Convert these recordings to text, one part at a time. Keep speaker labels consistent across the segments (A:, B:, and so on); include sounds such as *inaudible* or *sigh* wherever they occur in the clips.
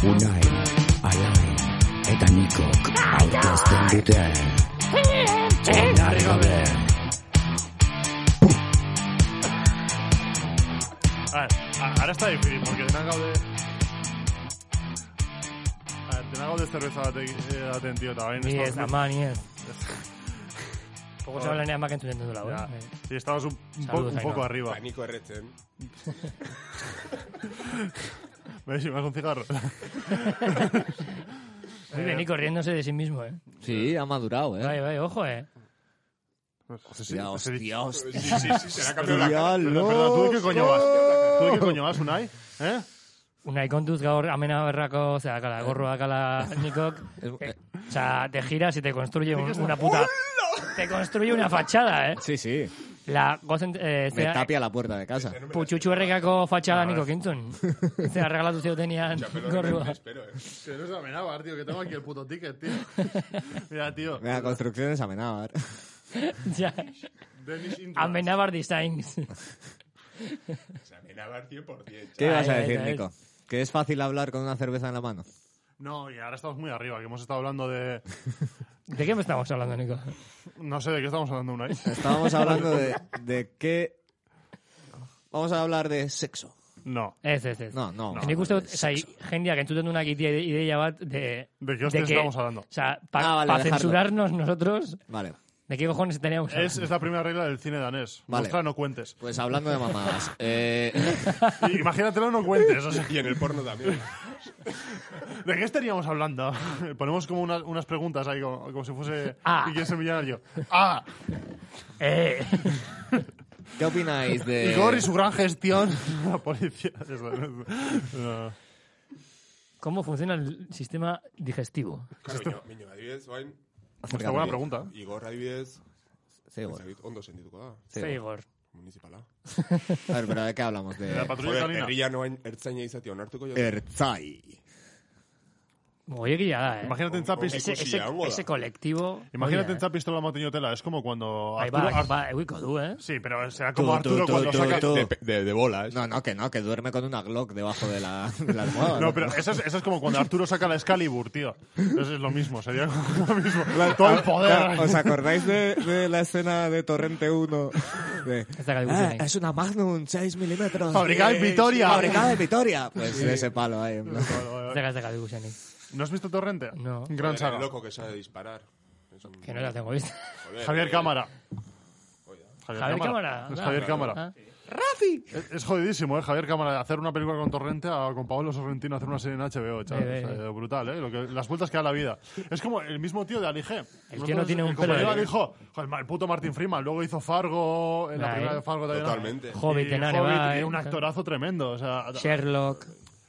A: Unai, Alain eta Nikok aurkezten dute. Oinarri gabe.
B: A ver, a- ahora está difícil, porque dena gaude... A ver, dena gaude zerbeza batek eh, daten tio, eta bain...
C: Ni ez, ama, ni ez. Poco
B: Joder.
C: se habla ni amak entzuten dudala,
B: Ya.
C: eh?
B: Sí, estamos un, un,
C: Saludos,
B: poco, un
C: Ainhoa.
B: poco arriba.
D: Paniko erretzen.
B: ¿Ves? Si me das un cigarro.
C: Muy bien, y corriéndose de sí mismo, eh.
E: Sí, ha madurado, ¿eh?
C: Vaya, vaya, ojo, eh.
E: Hostia, hostia, hostia.
D: Sí, sí, sí, se le ha cambiado la cara.
B: Pero, pero, ¿tú de qué coño vas? ¿Tú de qué coño vas, Unai? ¿Eh?
C: Unai kontuz gaur amena berrako, o sea, akala, gorro
E: *laughs*
C: akala nikok.
E: Es-
C: Eh,
E: eh,
C: o sea, te giras y te construye un- una puta... Te construye una fachada, eh.
E: Sí, sí.
C: La gozen... Eh,
E: Me
C: zera,
E: tapia la puerta de casa.
C: Putxutxu errekako fatxada niko kintzun. Zera, regalatu zeutenean
D: Pero
C: gorrua.
D: me espero, eh.
B: Que no se amenaba, tío, que tengo aquí el puto ticket, tío. *laughs* Mira, tío.
E: Mira, construcciones amenábar.
C: *laughs* Ja.
B: Danish Intro.
C: Amenabar
B: *laughs*
C: Designs.
D: O sea, me daba el 100%.
E: ¿Qué
C: Ay,
E: ibas a
C: ay,
E: decir,
C: ay.
E: Nico? ¿Que es fácil hablar con una cerveza en la mano?
B: No, y ahora estamos muy arriba, que hemos estado hablando de...
C: ¿De qué me estamos hablando, Nico?
B: No sé de qué estamos hablando,
C: *laughs*
B: Unai.
E: Estábamos hablando de, de qué... Vamos a hablar de sexo.
B: No.
C: Ez, ez, ez.
E: No, no.
C: Nik uste dut, zai, jendeak entzuten duenak ide- ideia bat de...
B: ¿De qué hostias
C: que-
B: estamos hablando?
C: O sea, para
E: Ah, vale, dejarlo.
C: censurarnos nosotros,
E: Vale.
C: ¿de qué cojones teníamos?
B: Es, es la primera regla del cine danés.
E: Vale.
B: Mostra, no cuentes.
E: Pues hablando de mamadas. eh,
B: Y Imagínatelo, no cuentes. o sea,
D: Y en el porno
E: *laughs*
D: también.
B: ¿De qué estaríamos hablando? *laughs* Ponemos como una- unas preguntas ahí, como, como si fuese...
C: Ah.
B: ¿Y quién es el millonario? ¡Ah!
C: Eh,
E: ¿Qué opináis de...?
B: Igor y su gran gestión. *laughs* La policía. Eso, eso. No.
C: ¿Cómo funciona el sistema digestivo?
D: Claro, miño, miño, adibidez, oain,
E: Acércate
B: Está buena
E: bien.
B: pregunta.
D: Igor adibidez,
E: Sí, bueno.
D: ezagit, ondo sendituko da,
C: Ze,
E: Sí, bueno.
C: Igor.
D: municipala.
E: A ver, pero ¿de qué hablamos?
B: La
E: De...
B: patrulla
D: Joder,
B: canina.
D: herrian oain ertzaina izatea onartuko
E: Er-
D: jo.
E: Ertzai.
C: Goiegia da, eh.
B: Imagínate en Zapis.
C: ese, ese,
D: Ikusia, hongo da.
C: ese colectivo...
B: Imagínate
C: oia,
B: en Zapis toda la motiñotela. Es como cuando.
C: Ahí
B: Arturo-
C: va,
B: Ar-
C: va, euiko du, eh.
B: Sí, pero será como
E: Tú,
B: Arturo
E: tú, tú,
B: cuando
E: tú,
B: saca.
E: tú.
D: De, de, de bolas.
E: No, no, que no, que duerme con una Glock debajo de la, de la almohada.
B: No, pero eso es, eso es como cuando Arturo saca la Excalibur, tío. Entonces es lo mismo, sería *laughs* como lo mismo. *laughs* Todo el poder.
E: ¿Os acordáis de, de la escena de Torrente 1? De, "Ah,
C: Ez da galdu zenik.
E: es una Magnum 6 milímetros.
B: Fabricada en Vitoria.
E: Fabricada en
B: *laughs*
E: Vitoria. Pues de ese palo ahí. ¿no?
C: Ez da gazak aldugu zenik.
B: ¿No has visto Torrente?
C: No.
B: Gran
D: Joder,
B: saga.
D: el loco que sabe disparar. Es un-
C: Que no la tengo
D: *laughs*
C: vista.
D: joder,
B: Javier
D: eh,
B: Cámara.
C: Javier Cámara.
B: Es
C: Ah,
B: Javier
C: claro.
B: Cámara.
C: Ah.
B: Es, es jodidísimo, ¿eh? Javier Cámara, hacer una película con Torrente a, con Pablo Sorrentino hacer una serie en HBO, chaval.
C: Eh, eh,
B: O sea, brutal, ¿eh? Lo que, las vueltas que da la vida. Es como el mismo tío de eh, Ali G.
C: El tío no tiene un
B: el
C: pelo de-
B: compañero dijo, "Joder, ma- el puto Martin Freeman, luego hizo Fargo, en la
C: Nah,
B: primera
C: eh.
B: de Fargo también.
D: Totalmente.
B: Y
C: Hobbit, enare,
B: Hobbit,
C: va,
B: y
C: eh.
B: un actorazo tremendo. O sea,
C: Sherlock.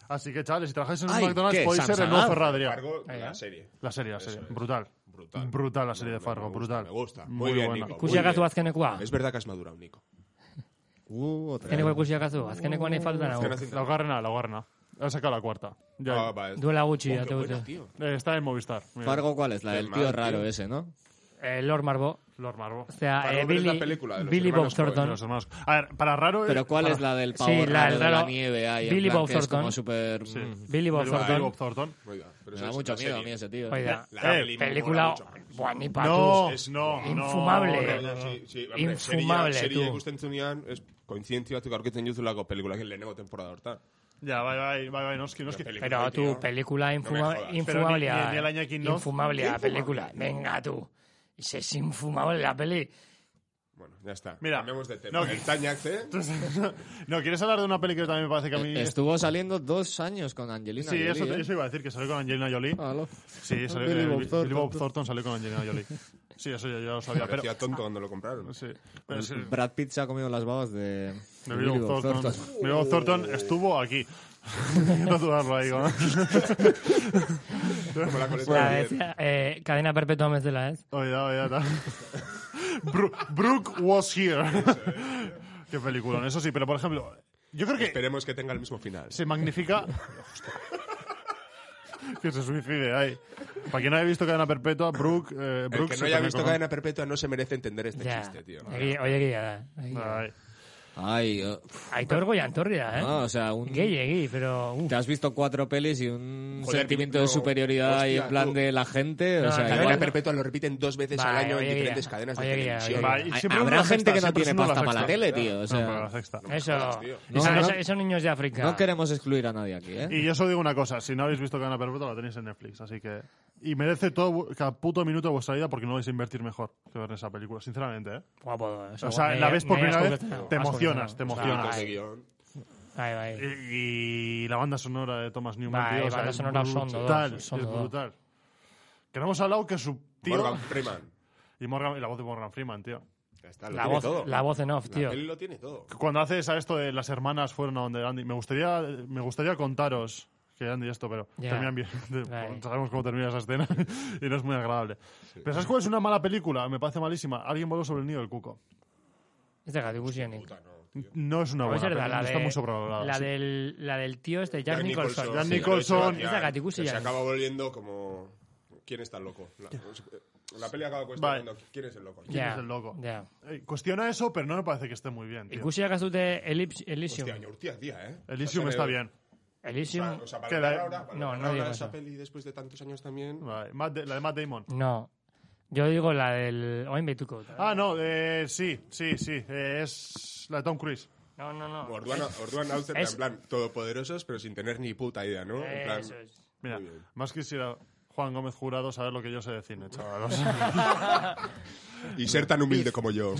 B: así que, chavales, si trabajáis en un
E: Ay,
B: McDonald's
E: ¿qué?
B: podéis ser el nuevo
E: Samsonite.
B: Ferradria.
D: Fargo,
C: Ahí va.
D: la serie.
B: La serie, la serie.
D: Eso es.
B: Brutal.
D: Brutal.
B: Brutal la serie de
D: Me-
B: Fargo,
D: me gusta,
B: brutal.
D: Me gusta. Muy, bien,
B: buena.
D: Nico. muy
C: Kusiakazu
D: bien.
C: azkenekoa.
D: Es verdad que has madurado, Nico.
E: *laughs* Uh, otra.
C: Azkeneko ikusiakazu. Azkenekoan
D: Uh,
C: nahi falta nago.
D: Azken-
B: La Garna, la Garna. Ha sacado la cuarta. Ya.
D: Ah, va, es-
C: Duela gutxi,
D: Oh, qué
C: date
D: buena,
C: gutxi.
D: tío.
B: Eh, está en Movistar. Mira,
E: Fargo, ¿cuál es? La del
D: mal,
E: tío
D: tío.
E: raro ese, ¿no?
C: Eh, Lord Marbo.
B: Lord Marvo.
C: O sea,
D: Para
C: eh,
D: volver es
C: Billy,
D: la película de los
C: Billy Bob
D: hermanos Coen,
B: De
C: Thornton.
B: los hermanos. A ver, para raro. eh,
E: Pero ¿cuál
B: para-
E: es la del pavo
C: Sí, la
E: raro
C: del
E: de la
C: raro-
E: nieve ahí? en
C: Billy
E: plan
C: Bob
E: que es como
C: Thornton.
E: súper...
B: Sí.
E: mm,
C: Billy Bob
B: Billy Bob- Billy Bob
C: Thornton.
B: Thornton.
D: Oiga, pero
E: Me
D: eso
E: da
D: es
E: mucho
D: una
E: miedo a
D: serie.
E: mí ese tío.
C: Oida,
D: La
B: Eh,
D: peli mola
C: película...
D: mucho.
C: Buah, ni
B: No,
C: patuz.
D: Es-
B: no, no.
C: Infumable.
B: No, no,
D: Bai,
B: no.
D: sí, sí, hombre,
C: Infumable,
D: serie,
C: tú.
D: serie ikusten zunean, ez, kointzientzia batzuk aurkitzen juzulako pelikulakin lehenengo temporada hortan.
B: Ya, bai, bai, bai, bai, noski, noski.
D: Película,
C: Pero tu
D: tío.
C: película infuma,
D: jodas.
C: infumable.
B: Pero ni- ni el Iñaki, ¿no?
C: Infumable la película. Venga tú. Y si es infumable la peli.
D: Bueno, ya está.
B: Mira,
D: Cambiamos de tema.
B: no, que-
D: el Tañac, ¿eh?
B: *laughs* No, ¿quieres hablar de una peli que también me parece que a mí...
E: Estuvo saliendo dos años con Angelina
B: Sí,
E: Jolie,
B: eso,
E: ¿eh? Ah,
B: eso iba a decir, que salió con Angelina Jolie.
E: Aló.
B: Sí, salió,
E: Billy
B: eh,
E: Bob
B: Billy
E: Thornton.
B: Bob Thornton salió con Angelina Jolie. Sí, eso ya, ya lo sabía. Pero, Pues,
D: Parecía tonto cuando lo compraron.
B: sí, pero sí,
E: Pues Brad Pitt se ha comido las babas de...
B: de Billy Bob Thornton. Billy Bob Thornton estuvo aquí. *laughs* no dudarlo ahí,
D: *laughs*
B: ¿no?
D: Como
B: *laughs* pues,
D: la coleta
E: Pues
C: La
D: de-
C: vez, eh, cadena perpetua me de la vez.
B: Oida, oida, ta. oh, Bru- Brooke was here. Qué película, eso sí, pero por ejemplo, yo creo que
D: Esperemos que tenga el mismo final.
B: se magnifica. que se suicide ahí. Para quien no haya visto Cadena Perpetua, Brooke. eh,
D: El
B: Brooke
D: que
B: se
D: no haya
B: pone
D: visto
B: con-
D: cadena perpetua no se merece entender este
C: Ya.
D: chiste, tío.
C: Egia- Oye, egia da. egia da.
B: Ay.
E: Ay, eh, pf,
C: Aitor Goyantorria, ¿eh?
E: no, o sea, un...
C: Gay, gay, pero... uf.
E: Te has visto cuatro pelis y un
D: Joder,
E: sentimiento
D: no.
E: de superioridad y
D: Hostia,
E: en plan
D: tú.
E: de la gente.
C: No,
E: o sea,
C: la
D: Cadena
C: igual-
D: perpetua lo repiten dos veces
C: Vale,
D: al año en
C: oye,
D: diferentes
C: guía.
D: cadenas de
C: Oye, guía,
D: televisión.
C: oye,
B: Va,
C: guía.
B: y
E: Hay-
B: siempre
E: habrá
B: una
E: gente
B: sexta,
E: que no
B: siempre
E: tiene
B: es una de las
E: pasta para la
B: sextas.
E: tele, tío, o
B: No,
E: sea.
B: para la sexta.
C: Eso,
D: jodas, tío.
E: No,
C: eso-
E: no.
C: eso- esos niños de África.
E: No queremos excluir a nadie aquí, ¿eh?
B: Y yo solo digo una cosa, si no habéis visto Cadena Perpetua, la tenéis en Netflix, así que... Y merece todo, vu- cada puto minuto de vuestra vida porque no vais a invertir mejor que ver esa película, sinceramente, ¿eh?
C: Guapo, pues, eso,
B: O sea,
C: me-
B: la ves por
C: me has
B: primera vez,
C: conquistado,
B: te
C: me has
B: emocionas, te
C: conquistado.
B: emocionas.
D: Con ese
C: Ay,
D: guión.
C: ay, ay.
B: Y, y la banda sonora de Thomas Newman,
C: Vale,
B: tío, o sea,
C: banda
B: es
C: sonora
B: brutal,
C: Sondo dos,
B: es
C: Sondo dos.
B: brutal. Que no hemos hablado que su tío...
D: Morgan Freeman.
B: Y, Morgan- y la voz de Morgan Freeman, tío.
D: Ya está, lo
C: La
D: tiene
C: voz,
D: todo.
C: la voz en off,
D: La
C: tío.
D: peli lo tiene todo.
B: Cuando haces a esto de las hermanas fueron a donde Andy, me gustaría, me gustaría contaros que Andy esto, pero
C: Ya.
B: terminan bien. *laughs*
C: Vale.
B: Sabemos cómo termina esa escena *laughs* y no es muy agradable. Pero ¿sabes cuál es una mala película? Me parece malísima. Alguien voló sobre el nido del cuco.
C: Es de Gadu Busionic.
D: Puta, no, tío.
B: No es una
C: Pues
B: buena
C: es verdad,
B: película,
C: la
B: está
C: de-
B: muy sobrevalorada.
C: La
B: sí.
C: del, la del tío este, Jack, Nicholson.
B: Jack
D: sí,
B: Nicholson.
D: pero
C: Es la Gatigusi
D: que
C: ya.
D: Se acaba volviendo como... ¿Quién está el loco? La, eh, la peli acaba cuestionando quién es el loco.
C: Ya,
B: es el loco?
C: ya.
B: Eh, Cuestiona eso, pero no me parece que esté muy bien. tío.
C: Ikusi de Elysium.
D: Hostia, Urtia, tía, ¿eh?
B: Elysium
D: O sea,
B: está bien.
C: Elysium.
D: O sea, o sea,
B: Que
D: para
B: la-
D: hablar ahora, para
C: no,
D: hablar
C: no
D: ahora
C: digo
D: de esa
C: eso.
D: peli después de tantos años también...
B: Vale, Matt Da- la de Matt Damon.
C: No. Yo digo la del. Oye, me tuco.
B: Ah, no, eh, sí, sí, sí. eh, es la de Tom Cruise.
C: No, no, no.
D: Orduan, Orduan Amsterdam,
C: Es-
D: en plan, todopoderosos, pero sin tener ni puta idea, ¿no? En plan,
C: Eh, Eso es.
B: Mira,
D: Muy bien.
B: más quisiera Juan Gómez Jurado saber lo que yo sé de cine, chaval. O sea,
D: y ser tan humilde
C: *laughs*
D: como yo.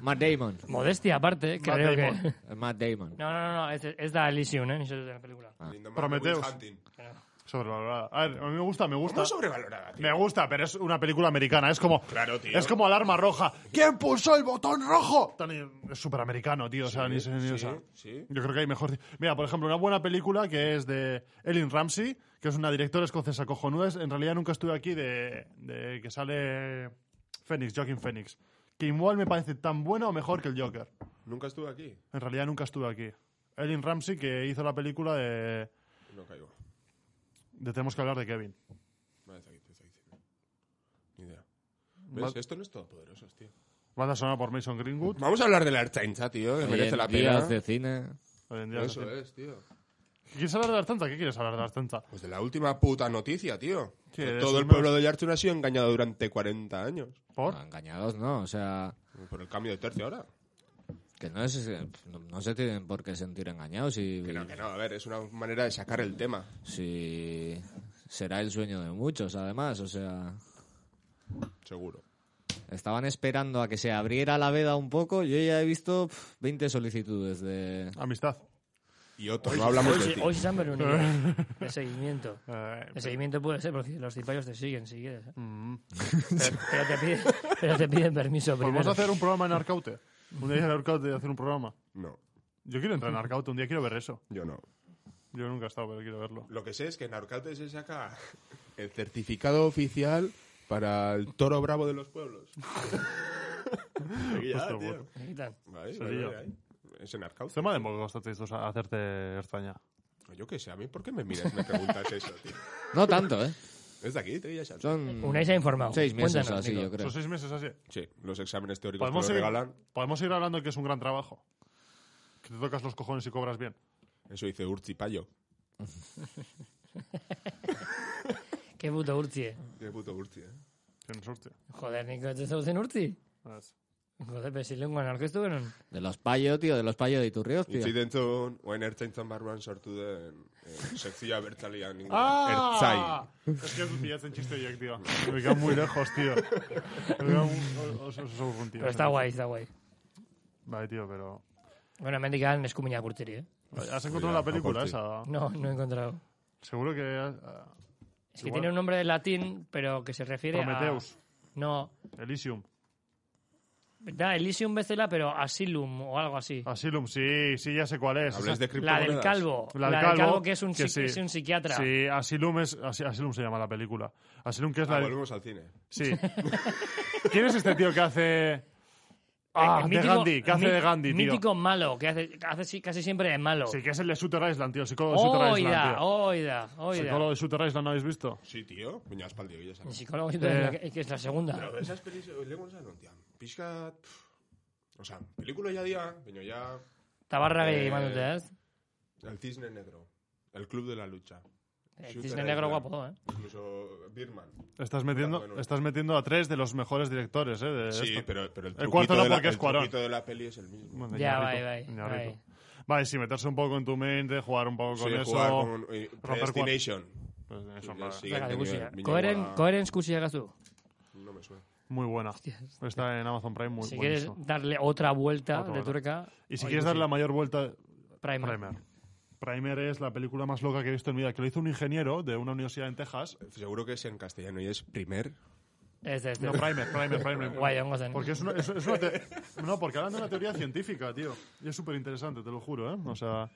E: Matt Damon.
C: Modestia aparte,
B: Matt
C: creo que.
B: Damon.
E: Matt Damon.
C: *laughs* No, no, no, no, es, es la Elysium, ¿eh? Ni siquiera de la película.
D: Lindemann,
B: Prometeus.
D: Will Hunting.
C: ¿Eh?
B: Sobrevalorada. A ver, a mí me gusta, me gusta.
D: ¿Cómo sobrevalorada, tío?
B: Me gusta, pero es una película americana. Es como.
D: Claro, tío.
B: Es como alarma roja. ¿Quién pulsó el botón rojo? Tan- Es súper americano, tío. O sea, ni se- ni- o
D: sí,
B: sea,
D: sí.
B: Yo creo que hay mejor. Mira, por ejemplo, una buena película que es de Ellen Ramsey, que es una directora escocesa cojonuda. Es- En realidad nunca estuve aquí de, de que sale Phoenix, Joaquin Phoenix. Que igual me parece tan buena o mejor que el Joker.
D: Nunca estuve aquí.
B: En realidad nunca estuve aquí. Ellen Ramsey, que hizo la película de,
D: No caigo.
B: de Tenemos que hablar de Kevin.
D: No, está aquí, está aquí. Ni idea. ¿Ves? Esto no es todopoderosos, tío.
B: Banda sonora por Mason Greenwood.
D: Vamos a hablar de la Archancha, tío, que
E: Oye,
D: merece la
E: en días
D: pena.
E: de cine.
B: Hoy en día
D: Eso
B: no sé.
D: es, tío.
B: ¿Quieres hablar de Artanta? ¿Qué quieres hablar de Artanta?
D: Pues de la última puta noticia, tío.
B: Sí,
D: Que
B: es
D: Todo el
B: una-
D: pueblo de Yarchur ha sido engañado durante 40 años.
B: ¿Por?
E: No, engañados no, o sea,
D: Por el cambio de tercio ahora.
E: que no, es, no, no se tienen por qué sentir engañados y
D: Que no, que no, a ver, es una manera de sacar el tema.
E: si será el sueño de muchos, además, o sea,
D: Seguro.
E: estaban esperando a que se abriera la veda un poco, yo ya he visto pf, 20 solicitudes de...
B: Amistad.
D: Y otro, no hablamos
C: Hoy,
D: de
C: sí-
D: ti.
C: hoy sí se han reunido.
B: *laughs*
C: De seguimiento.
B: Eh,
C: De seguimiento puede ser, porque los cipayos te siguen si
B: *laughs*
C: quieres. ¿eh?
B: mm.
C: Pero te piden, pero te piden permiso
B: ¿Podemos
C: primero.
B: hacer un programa en Arcaute? Un día ir *laughs* a Arcaute y hacer un programa.
D: No,
B: Yo quiero entrar en Arcaute, un día quiero ver eso.
D: yo no.
B: Yo nunca he estado, pero quiero verlo.
D: Lo que sé es que en Arcate se saca el certificado oficial para el toro bravo de los *laughs* pueblos. Aquí ya,
B: Justo,
D: tío.
B: bueno.
C: Me quitan.
D: Vale,
B: Sería.
D: vale, vale. Es en Arcaute.
B: Se me ha demorado bastante esto a hacerte extraña.
D: Yo qué sé, a mí por qué me miras y me preguntas eso, tío.
E: No tanto, ¿eh?
D: Es de aquí, te ya sabes.
E: Son
C: Unai se ha informado.
E: seis meses
C: e Cuéntanos,
E: así,
C: Nico.
E: yo creo.
B: Son seis meses así.
D: Sí, los exámenes teóricos te
B: Podemos
D: los
B: seguir,
D: regalan.
B: podemos ir hablando de que es un gran trabajo. Que te tocas los cojones y cobras bien.
D: Eso dice Urti Payo.
C: Qué puto Urti. eh.
D: Qué puto Urti, ¿eh?
B: Tienes suerte.
C: Joder, Nico, ¿te estás en Urti? Joder, pero si lengua en arquesto, bueno.
E: De los payo, tío, de los payo de Iturrios, tío.
D: Itzi dentzun, oen ertzaintzan barruan sortu den eh, sekzioa bertzalian inguruan.
B: ¡Ah!
D: Ertzain.
B: Es que pillaste en chiste yo, tío. Me quedan muy lejos, tío. Me quedan un- os- os- os- un tío.
C: Pero está guay, está guay.
B: Vale, tío, pero...
C: Bueno, mendikan eskuminak urtiri, eh?
D: Pues
B: ¿Has encontrado la película esa?
C: No, no he encontrado.
B: Seguro que... ah,
C: Es que
B: Igual.
C: tiene un nombre de latín, pero que se refiere
B: Prometheus,
C: a... No,
B: Elysium.
C: da Elysium Bezala, pero Asylum o algo así.
B: Asylum, sí, sí, ya sé cuál es.
D: Hablas de
C: La
D: criptomonedas.
C: del calvo.
B: La del
C: del
B: calvo,
C: calvo, que es un,
B: que
C: psiqui-
B: sí.
C: es un psiquiatra. Eh,
B: Sí, Asylum, es, Asi- Asylum se llama la película. Asylum que es la...
D: Ah, volvemos al cine. *laughs*
B: Sí. ¿Quién es este tío que hace... Ah,
C: El
B: de
C: mítico-
B: Gandhi, que hace
C: mí-
B: de Gandhi, tío.
C: Mítico malo, que hace, que hace si- casi siempre de malo.
B: Sí, que es el de Shooter Island, tío, el psicólogo de
C: Oh,
B: Shooter Island,
C: Oida,
B: tío.
C: oida, oida.
B: Psicólogo de Shooter Island, ¿no habéis visto?
D: Sí, tío. Baina aspaldi hori esan.
C: El psicólogo
B: Eh.
C: que, que es la segunda.
D: eh, Pero esas pelis, lehenko esan, ontian. Pixkat... pff, O sea, película ya día, baina ja
C: Tabarra
D: Eh,
C: gehiagin eman dute, ez?
D: El Cisne Negro, El Club de la Lucha.
C: Eh,
D: Shooter
C: Cisne
D: Island,
C: negro guapo, eh?
D: Incluso Birman.
B: Estás metiendo,
D: Ah, bueno.
B: estás metiendo a tres de los mejores directores, ¿eh? de
D: Sí,
B: esto.
D: pero, pero el,
B: El
D: truquito
B: cuarto no,
D: de la,
B: porque es
D: el
B: Cuarón.
D: truquito de la peli es el mismo.
B: Bueno,
C: Ya,
B: Iñárritu,
C: bai, bai,
B: Iñárritu.
C: bai.
B: Vale, sí, meterse un poco en tu mente, jugar un poco con
D: Sí,
B: eso.
D: jugar con eh,
B: cuatro.
D: Predestination.
B: Pues eso,
D: Ya
B: vale.
C: Zaka,
D: sí. Siguiente
C: ikusia.
D: nivel, Minimoa.
C: Koheren, koherentz kusia gazu.
D: No me suena.
B: Muy buena.
C: Hostias.
B: Está en Amazon Prime, muy
C: Si quieres
B: buenísimo.
C: darle otra vuelta
B: Otra
C: de
B: vuelta.
C: tuerca...
B: Y si
C: o
B: quieres dar
C: ikusi.
B: la mayor vuelta,
C: Primer.
B: Primer. Primer es la película más loca que he visto en mi vida, que lo hizo un ingeniero de una universidad en Texas.
D: Seguro que es en castellano y es primer.
C: Ez, ez,
B: No,
C: ez.
B: Primer, Primer,
C: *laughs*
B: Primer.
C: Guai, ongo zen.
B: Porque es una, es- es una
D: *laughs*
B: te- no, porque hablan de una teoría científica, tío. Y es súper interesante, te lo juro, ¿eh? O sea,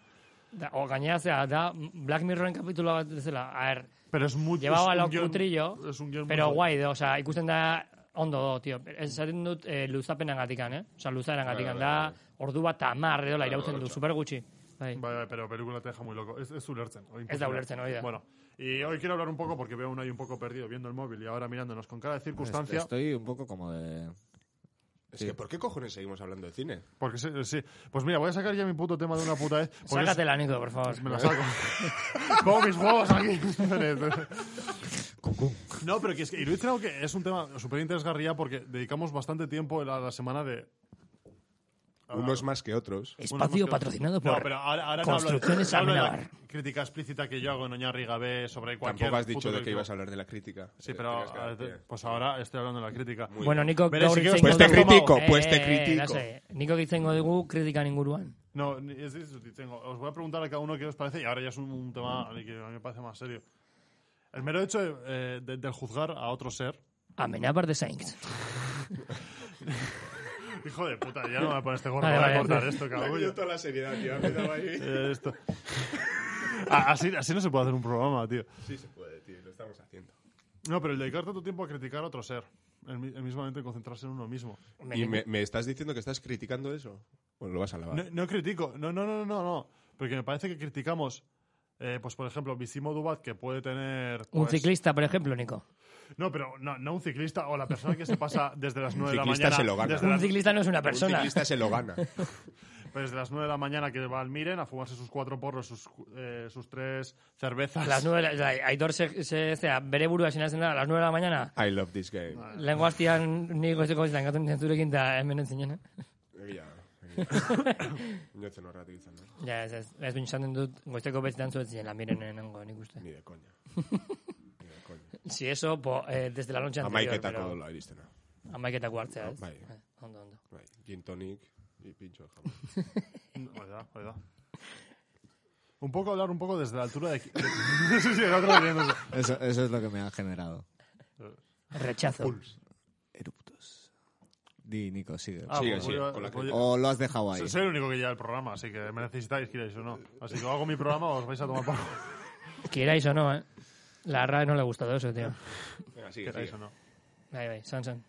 C: Da, o gainera, zera, da Black Mirrorren kapitula bat bezala. A ver,
B: pero es muy... es
C: llevaba
B: un
C: lo
B: guion-
C: kutrillo,
B: es un guion
C: pero
B: muy-
C: guai, do, sea, ikusten da ondo do, tío. Esaten dut eh, luzapenan gatikan, eh? Osa, luzaren gatikan,
D: Bai, bai,
C: da ordu bat eta amar, edo la irauten du,
D: hortxe.
C: super gutxi. Bai.
B: Vale, vale, pero película te deja muy loco. Es, es ulertzen. o
C: Es da ulertzen, hori da.
B: Bueno, y hoy quiero hablar un poco porque veo uno ahí un poco perdido viendo el móvil y ahora mirándonos con cara de circunstancia.
D: Este,
E: Estoy un poco como de...
D: Es que, ¿por qué cojones seguimos hablando de cine?
B: Porque sí, sí. Pues mira, voy a sacar ya mi puto tema de una puta vez. porque es-
C: Sácatela, Nico, por favor.
B: Me la saco. Pongo mis huevos aquí. no, pero que es que iruditzen hau que es un tema súper interesgarria porque dedicamos bastante tiempo a la, la semana de... Ah,
D: Unos más que otros.
C: Espacio patrocinado por
B: No, pero ahora, ahora no hablo de-
C: Construcciones
B: hablo de
C: Amenábar.
B: la crítica explícita que yo hago en Oñarri Gabé sobre cualquier...
D: Tampoco has
B: puto
D: dicho de que
B: colectivo.
D: ibas a hablar de la crítica.
B: Sí,
D: Eh,
B: pero
D: tenías que dar
B: eh,
D: pie.
B: pues ahora estoy hablando de la crítica.
C: Bueno, Nico,
B: Bere, si quieres,
D: pues te
C: dugu-
D: critico,
C: Eh,
D: pues te
C: eh,
D: critico.
C: no sé, Nico izango dugu kritikan inguruan.
B: No, ni- es, es- tengo- os voy a preguntar a cada uno qué os parece y ahora ya es un, un tema que a mí me parece más serio. El mero hecho de, eh, de- del juzgar a otro ser
C: Amenabar de Saints.
B: Hijo de puta, ya no me voy a poner este gorro
C: Vale,
B: para
C: vale.
B: cortar esto,
D: Me ha cogido
B: cabrón. Eh,
D: toda la seriedad, tío. Me
B: *laughs*
D: daba ahí.
B: esto. Ah, Así, así no se puede hacer un programa, tío.
D: Sí se puede, tío. Lo estamos haciendo.
B: No, pero el dedicar tanto tiempo a criticar a otro ser, el, mi- el mismamente concentrarse en uno mismo.
D: ¿Y me, me estás diciendo que estás criticando eso? Bueno, lo vas a lavar.
B: No, no critico, no, no, no, no, no. Porque me parece que criticamos, eh, pues por ejemplo, Vicimo Dubat, que puede tener.
C: Un
B: pues-
C: ciclista, por ejemplo, Nico.
B: No, pero no, no un ciclista o la persona que se pasa desde las 9 de la
D: ciclista
B: mañana.
D: se lo gana.
B: Desde
C: Un
B: las,
C: ciclista no es una persona.
D: Un ciclista se lo gana.
B: pues desde las 9 de la mañana que va al Miren a fumarse sus cuatro porros, sus, cu- eh, sus tres
D: pues-
B: cervezas.
C: Las nueve, de la- Aitor se, se, zera, bere burua sinatzen da, a las nueve de la mañana.
D: I love this game.
C: Lengo hastian nik goizeko goizetan gaten zentzurekin da hemen entzinen, eh?
D: Egia. *coughs* Inotzen horretik izan, eh?
C: Ja, ez, ez, ez bintzaten dut, goizeko betzitan zuetzen lan miren nengo nik uste.
D: Ni de coña. Ni de coña.
C: Si eso, po, eh, desde la loncha anterior,
D: Amaiketako
C: pero
D: dola iristena.
C: amaiketako hartzea, ez?
D: Bai.
C: Eh, Ondo, ondo.
D: Bai, gin tonic y pincho de jamón.
B: Verdad, verdad. Un poco hablar un poco desde la altura de... de- *laughs* sí, sí, el otro riéndose.
E: Eso, eso es lo que me ha generado.
C: Rechazo.
E: Eruptos. Di, Nico, sigue.
B: Ah,
D: Sigue,
B: pues
D: sigue,
B: voy a-
D: con la
B: voy a-
E: o lo has dejado ahí.
B: Soy el único que lleva el programa, así que me necesitáis, queréis o no. Así que o hago mi programa o os vais a tomar por
C: Quierais o no, eh? La RAE no le ha gustado eso, tío.
D: *laughs* Venga, sigue,
B: queráis
D: sigue.
B: o no.
C: Bai, bai, san, san.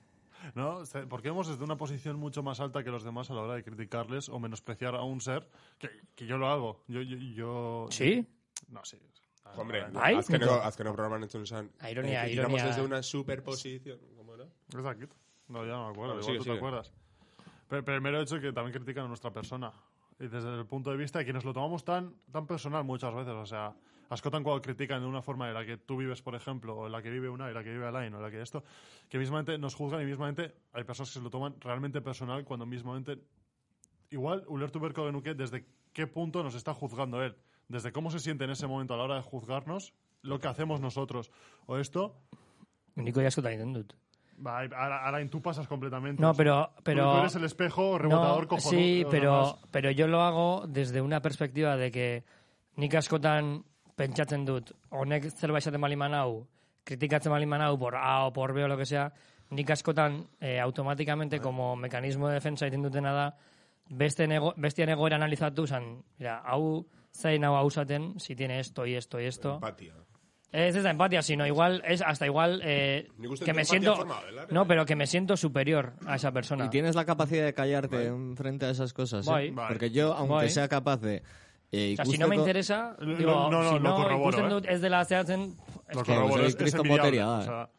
B: ¿No? Se- Porque vemos desde una posición mucho más alta que los demás a la hora de criticarles o menospreciar a un ser, que, que yo lo hago. Yo, yo, yo-
C: Sí?
B: No, sí. Ah,
D: Hombre,
B: vale.
C: Bai,
D: azkeneko,
C: punto.
D: azkeneko programan entzun esan.
C: Ironia,
D: criticamos
C: ironia.
D: eh, desde una superposición. ¿Cómo era?
B: Es aquí. No, ya no me acuerdo.
D: Vale,
B: igual
D: sigue,
B: tú
D: sigue.
B: te acuerdas. Pero, pero el mero hecho que también critican a nuestra persona. Y desde el punto de vista de quienes lo tomamos tan, tan personal muchas veces. O sea, ascotan cuando critican de una forma en la que tú vives, por ejemplo, o en la que vive una, en la que vive Alain, o en la que esto. Que mismamente nos juzgan y mismamente hay personas que se lo toman realmente personal cuando mismamente. Igual, Ulertu Berko Genuke, desde qué punto nos está juzgando él. Desde cómo se siente en ese momento a la hora de juzgarnos lo que hacemos nosotros. O esto.
C: Niko jaskotan egiten dut.
B: va, Ala- Alain, tú pasas completamente.
C: No,
B: O sea,
C: pero... pero...
B: Tú, tú eres el espejo rebotador
C: No,
B: cojonudo.
C: Sí,
B: nada
C: pero,
B: más.
C: pero yo lo hago desde una perspectiva de que nik askotan pentsatzen dut, honek zerbait esaten bali manau, kritikatzen bali manau, por A o por B o lo que sea, nik askotan eh, automáticamente como mekanismo de defensa egiten dutena da, beste nego, bestian egoera analizatu zan, mira, hau zain hau hausaten, si tiene esto y esto y esto.
D: Empatia.
C: Es esa empatía, sino igual, es hasta igual eh,
D: Nik uste
C: que
D: dut
C: me
D: empatia
C: siento...
D: forma bat dela,
C: No,
D: eh?
C: pero que me siento superior a esa persona.
E: Y tienes la capacidad de callarte en frente a esas cosas. ¿eh?
C: Bai.
B: Bai.
E: Porque yo, aunque
C: Bai.
E: sea capaz de. eh,
C: O sea, si no me
E: ikusteko-
C: interesa,
B: Lo-
C: digo,
B: no, no,
C: si
B: lo
C: no,
B: corroboro,
C: ikusten
B: eh.
C: dut ez dela zehatzen, pf,
B: Lo
E: que
B: corroboro,
E: soy
B: es, es
E: Cristo
B: envidiable,
E: Boteria,
B: o
E: eh.
B: sea,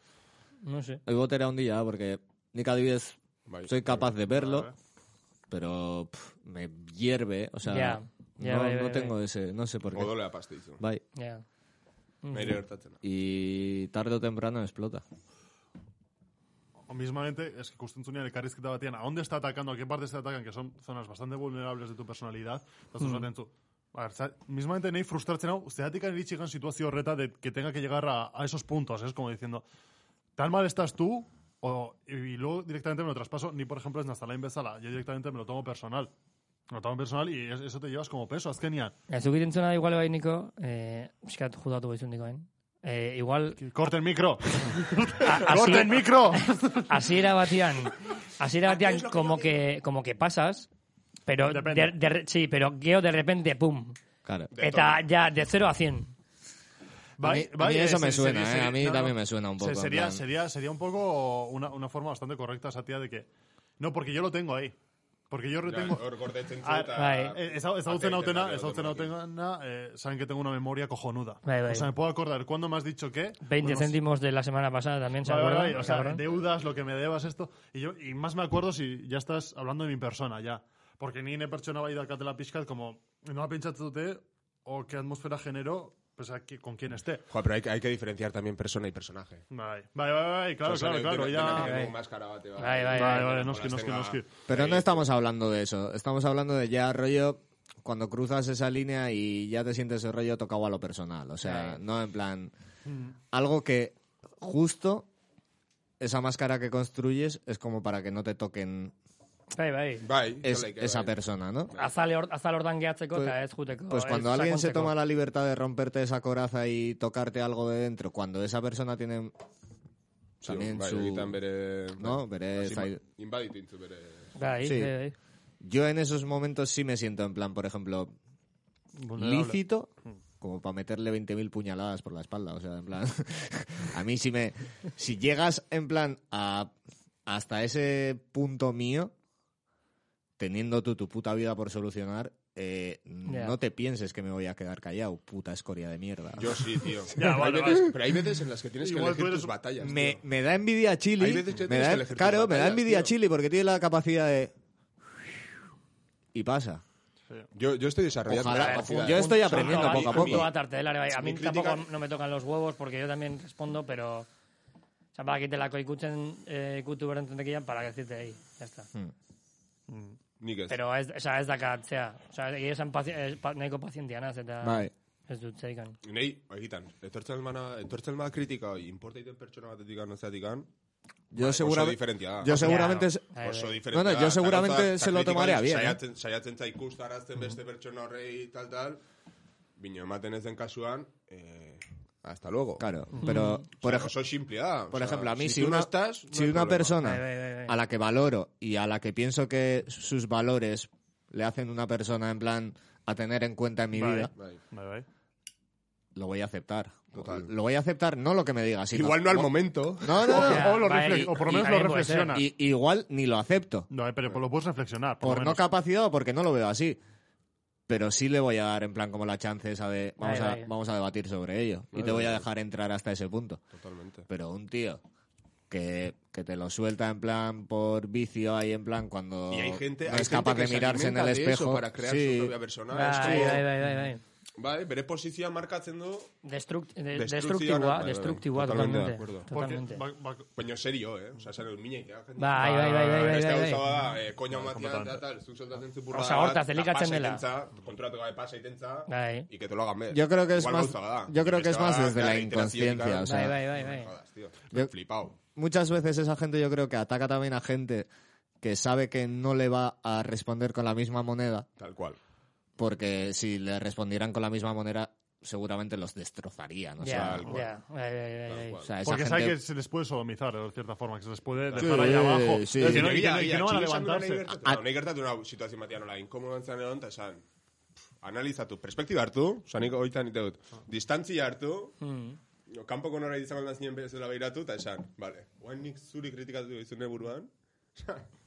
C: no sé.
E: Hoy voy a tener un día porque. Ni cada vez
D: Bai.
E: soy capaz de verlo.
B: Vale.
E: pero pf, me hierve, o sea,
C: Ya, ya,
E: no,
C: bai,
E: no
C: bai,
E: tengo ese, no sé por qué.
D: Odolea pastizun.
E: Bai.
C: Ja.
B: Mm.
D: Nire gertatzen da.
E: Y tarde o temprano explota.
B: O mismamente, es que justo en elkarrizketa batean, ¿a dónde está atacando? ¿A qué partes te atacan? Que son zonas bastante vulnerables de tu personalidad. Eta zu esaten zu, a ver, za- mismamente nahi frustratzen hau, zeatik iritsi gan situazio horreta de que tenga que llegar a, a esos puntos, es como diciendo, tan mal estás tú, o, y, y luego directamente me lo traspaso, ni por ejemplo es Nazalain bezala, yo directamente me lo tomo personal. Me lo tomo personal y es- eso te llevas como peso, azkenian.
C: Ez dukit entzuna igual ebai niko, eh, pixkat judatu behizun nikoen. Eh, igual,
B: ¡Corten micro!
C: así-
B: ¡Corten micro!
C: Asiera batean,
B: *laughs*
C: asiera batean como que, como que pasas, pero
B: Depende.
C: de, de- sí, pero geo de repente, pum.
E: Claro.
C: Eta ya de 0 a 100.
E: A mí- a mí
B: eh,
E: eso me
B: se-
E: suena,
B: sería-
E: eh,
B: sería-
E: a mí también me suena un
B: Se-
E: poco, en
B: Sería,
E: plan-
B: sería, sería un poco una, una forma bastante correcta esa tía de que... No, porque yo lo tengo ahí. Porque yo
D: Ja,
B: retengo...
D: Hor gordetzen zu
B: Ah,
D: eta...
C: bai.
B: Eh, eza- Ezagutzen
D: Atenten
B: hautena,
D: ari
B: ezagutzen
D: automatikoki.
B: hautena, eh, saben que tengo una memoria cojonuda.
C: Bai, bai.
B: O sea, me puedo acordar cuándo me has dicho qué.
C: 20
B: unos-
C: céntimos de la semana pasada también, ¿se
B: Bai, bai,
C: acuerdan?
B: bai, o sea,
C: Cabrón.
B: deudas, lo que me debas, esto. Y, yo, y más me acuerdo si ya estás hablando de mi persona, ya. Porque ni ne pertsona bai daukatela pixkat, como, nola pentsatzen dute, o qué atmósfera generó, pues aquí, con quién esté.
D: Jo, pero hay, que- hay que diferenciar también persona y personaje.
B: Bai, bai, bai, bai, claro,
D: Oso,
B: claro,
D: dena-
B: claro,
D: dena-
B: ya...
D: dena
B: Bai,
D: dugu maskara bate, bai.
C: Bai, bai,
B: bai,
C: bai,
B: bai,
D: bai,
B: noski,
D: bai,
B: noski,
D: bai,
B: noski.
D: bai.
E: Pero no estamos hablando de eso, estamos hablando de ya rollo cuando cruzas esa línea y ya te sientes el rollo tocado a lo personal, o sea, no en plan Mm. algo que justo esa máscara que construyes es como para que no te toquen
C: Bai, bai.
D: Bai,
E: es-
D: jolaik, bai.
E: esa persona, ¿no?
C: Azal, hor- azal ordan gehatzeko
E: Pues-
C: eta ez juteko.
E: Pues
C: ez
E: cuando alguien se
C: sakontzeko.
E: toma la libertad de romperte esa coraza y tocarte algo de dentro, cuando esa persona tiene
D: Sí,
E: también
D: bai, egiten
E: su...
D: bere...
E: No, bere
D: Hasi
E: zai-
D: inba- Inbaditu intzu bere...
C: Bai,
E: Sí.
C: bai, bai.
E: Yo en esos momentos sí me siento en plan, por ejemplo,
D: Pues
B: Vulnerable.
E: lícito como para meterle 20.000 puñaladas por la espalda. O sea, en plan, *laughs* a mí si me... Si llegas en plan a, hasta ese punto mío, teniendo tú tu puta vida por solucionar, eh,
C: Ya.
E: no te pienses que me voy a quedar callado, puta escoria de mierda.
D: Yo sí, tío.
B: *laughs* Ya,
D: Pero hay
B: vale,
D: veces- Pero hay veces en las que tienes que
B: Igual tú
D: elegir
B: eres
D: tus
B: un-
D: batallas,
E: me,
D: tío.
E: me da envidia Chile.
D: Hay veces que
E: me
D: tienes
E: da-
D: que elegir tus
E: claro, me da
D: batallas,
E: envidia
D: tío.
E: Chile porque tiene la capacidad de. Y pasa.
D: Yo, yo estoy desarrollando...
E: Ojalá-
D: la capacidad.
E: yo estoy
D: Punto.
E: aprendiendo
D: A mí-
E: poco a
D: mí-
E: poco.
C: Punto bat arte, dela ere bai. A mí
D: Mi
C: tampoco
D: crítica-
C: no me tocan los huevos porque yo también respondo, pero... O sea, para que te la coicuchen, eh, ikutu berententekian, para decirte ahí, ya está.
D: Hmm. Nik ez.
C: Pero ez, oza, ez dakat, zea. Oza, egia esan pazi, eh, pa, nahiko pazientia naz, eta
E: Bai.
C: ez dut zeikan.
D: Nei, egitan, etortzen bana, etortzen bada kritika hori, importa egiten pertsona batetik an, ozeatik an,
E: Yo,
D: oso
E: seguramente
D: diferentia da.
E: yo seguramente.
C: Ya.
E: es-
C: Bai,
D: oso
C: bai.
D: diferentea.
E: No, no, yo
D: Eta
E: seguramente
D: gauza-
E: se lo
D: eta
E: tomaría bien, eh.
D: Saiatzen, saiatzen za ikustarazten beste pertsona horrei tal, tal, bino ematen ez den kasuan, eh, hasta luego.
E: Claro, pero. Por, ej-
D: Oso simplea da.
E: por
D: osea,
E: ejemplo, a mí, si,
D: tú
E: una,
D: no estás, no
E: si
D: hay
E: una
D: problema.
E: persona
C: Bai, bai, bai, bai.
E: a la que valoro y a la que pienso que sus valores le hacen una persona en plan a tener en cuenta en mi
B: Vale.
E: vida,
D: Bai.
B: Bai, bai.
E: lo voy a aceptar.
D: Total.
E: Lo voy a aceptar, no lo que me digas, sino.
D: Igual no al momento.
E: No, no, no.
C: Ya,
B: O, lo
C: bai,
B: refle- o por lo
C: y-
B: menos
C: y
B: lo
C: también puede ser.
B: reflexiona.
E: I- igual ni lo acepto.
B: No, eh, pero lo puedes reflexionar. Por,
E: por
B: lo
E: no
B: menos.
E: capacidad o porque no lo veo así. Pero sí le voy a dar en plan como la chance esa de vamos,
C: Ahí,
E: a,
C: ahí.
E: vamos a debatir sobre ello. y te voy a dejar entrar hasta ese punto.
D: Totalmente.
E: Pero un tío que, que te lo suelta en plan por vicio ahí en plan cuando
D: Y hay gente,
E: no
D: hay
E: es
D: gente
E: capaz
D: que
E: de
D: se
E: mirarse en el
D: alimenta de eso
E: espejo.
D: para crear
E: Sí,
D: su propia persona.
C: Bai,
D: Es
C: bai,
D: como-
C: bai, bai, bai.
D: Bai, bere posizioa markatzen du,
C: Destruct, de,
D: Destructiva,
C: destructiboa,
D: bai, bai, bai.
C: destructiboa
D: Totalmente de
C: totalmente.
D: acuerdo.
B: Porque
C: Totalmente.
B: va- va-
D: baina serio, eh? Osa, zer, mina itea. jende.
C: Bai, bai, bai, bai, bai,
D: Beste
C: bai,
D: gauza
C: bai.
D: bada, eh, koña matia,
B: completamente.
D: eta tal, zuk soltatzen zu burra
C: Osea,
D: bat,
C: hortaz,
D: eta
C: elikatzen
D: pasa
C: dela.
D: itentza, konturatu gabe pasa itentza,
C: Bai.
D: y que te lo hagan ver.
E: Yo creo que es
D: Igual
E: más-
D: gauza bada.
E: yo creo que es
D: Beste
E: más
D: bada,
E: desde la
D: claro, iterazioi,
E: inconsciencia,
D: claro.
E: o sea-
C: Bai, bai, bai, bai.
D: No jodas, tío.
E: Yo-
D: Flipao.
E: Muchas veces esa gente yo creo que ataca también a gente que sabe que no le va a responder con la misma moneda.
D: Tal cual.
E: Porque si le respondieran con la misma moneda seguramente los destrozarían. O sea,
C: Ya,
D: tal cual.
C: ya, bai, bai, bai,
D: Tal
C: bai.
D: cual.
E: o sea, esa
B: Porque sabe
E: gente-
B: que se les puede sodomizar de cierta forma, que se les puede
E: Sí,
B: dejar ahí abajo.
E: sí.
B: Es que no-
D: Nire
B: y que
D: egia,
B: no- y que
D: egia,
B: no van a
D: txino esan duena
B: levantarse.
D: nahi gertatu- nahi gertatu nau situazio batean nola, inkomodan zan egon, eta esan, pff, analizatu, perspektiba hartu, osa nik oita nite dut,
B: Ah.
D: distantzia hartu,
B: Mm.
D: no, kanpoko nora izango da zinen bezala behiratu, eta esan, vale, guain nik zuri kritikatu izune *laughs* buruan,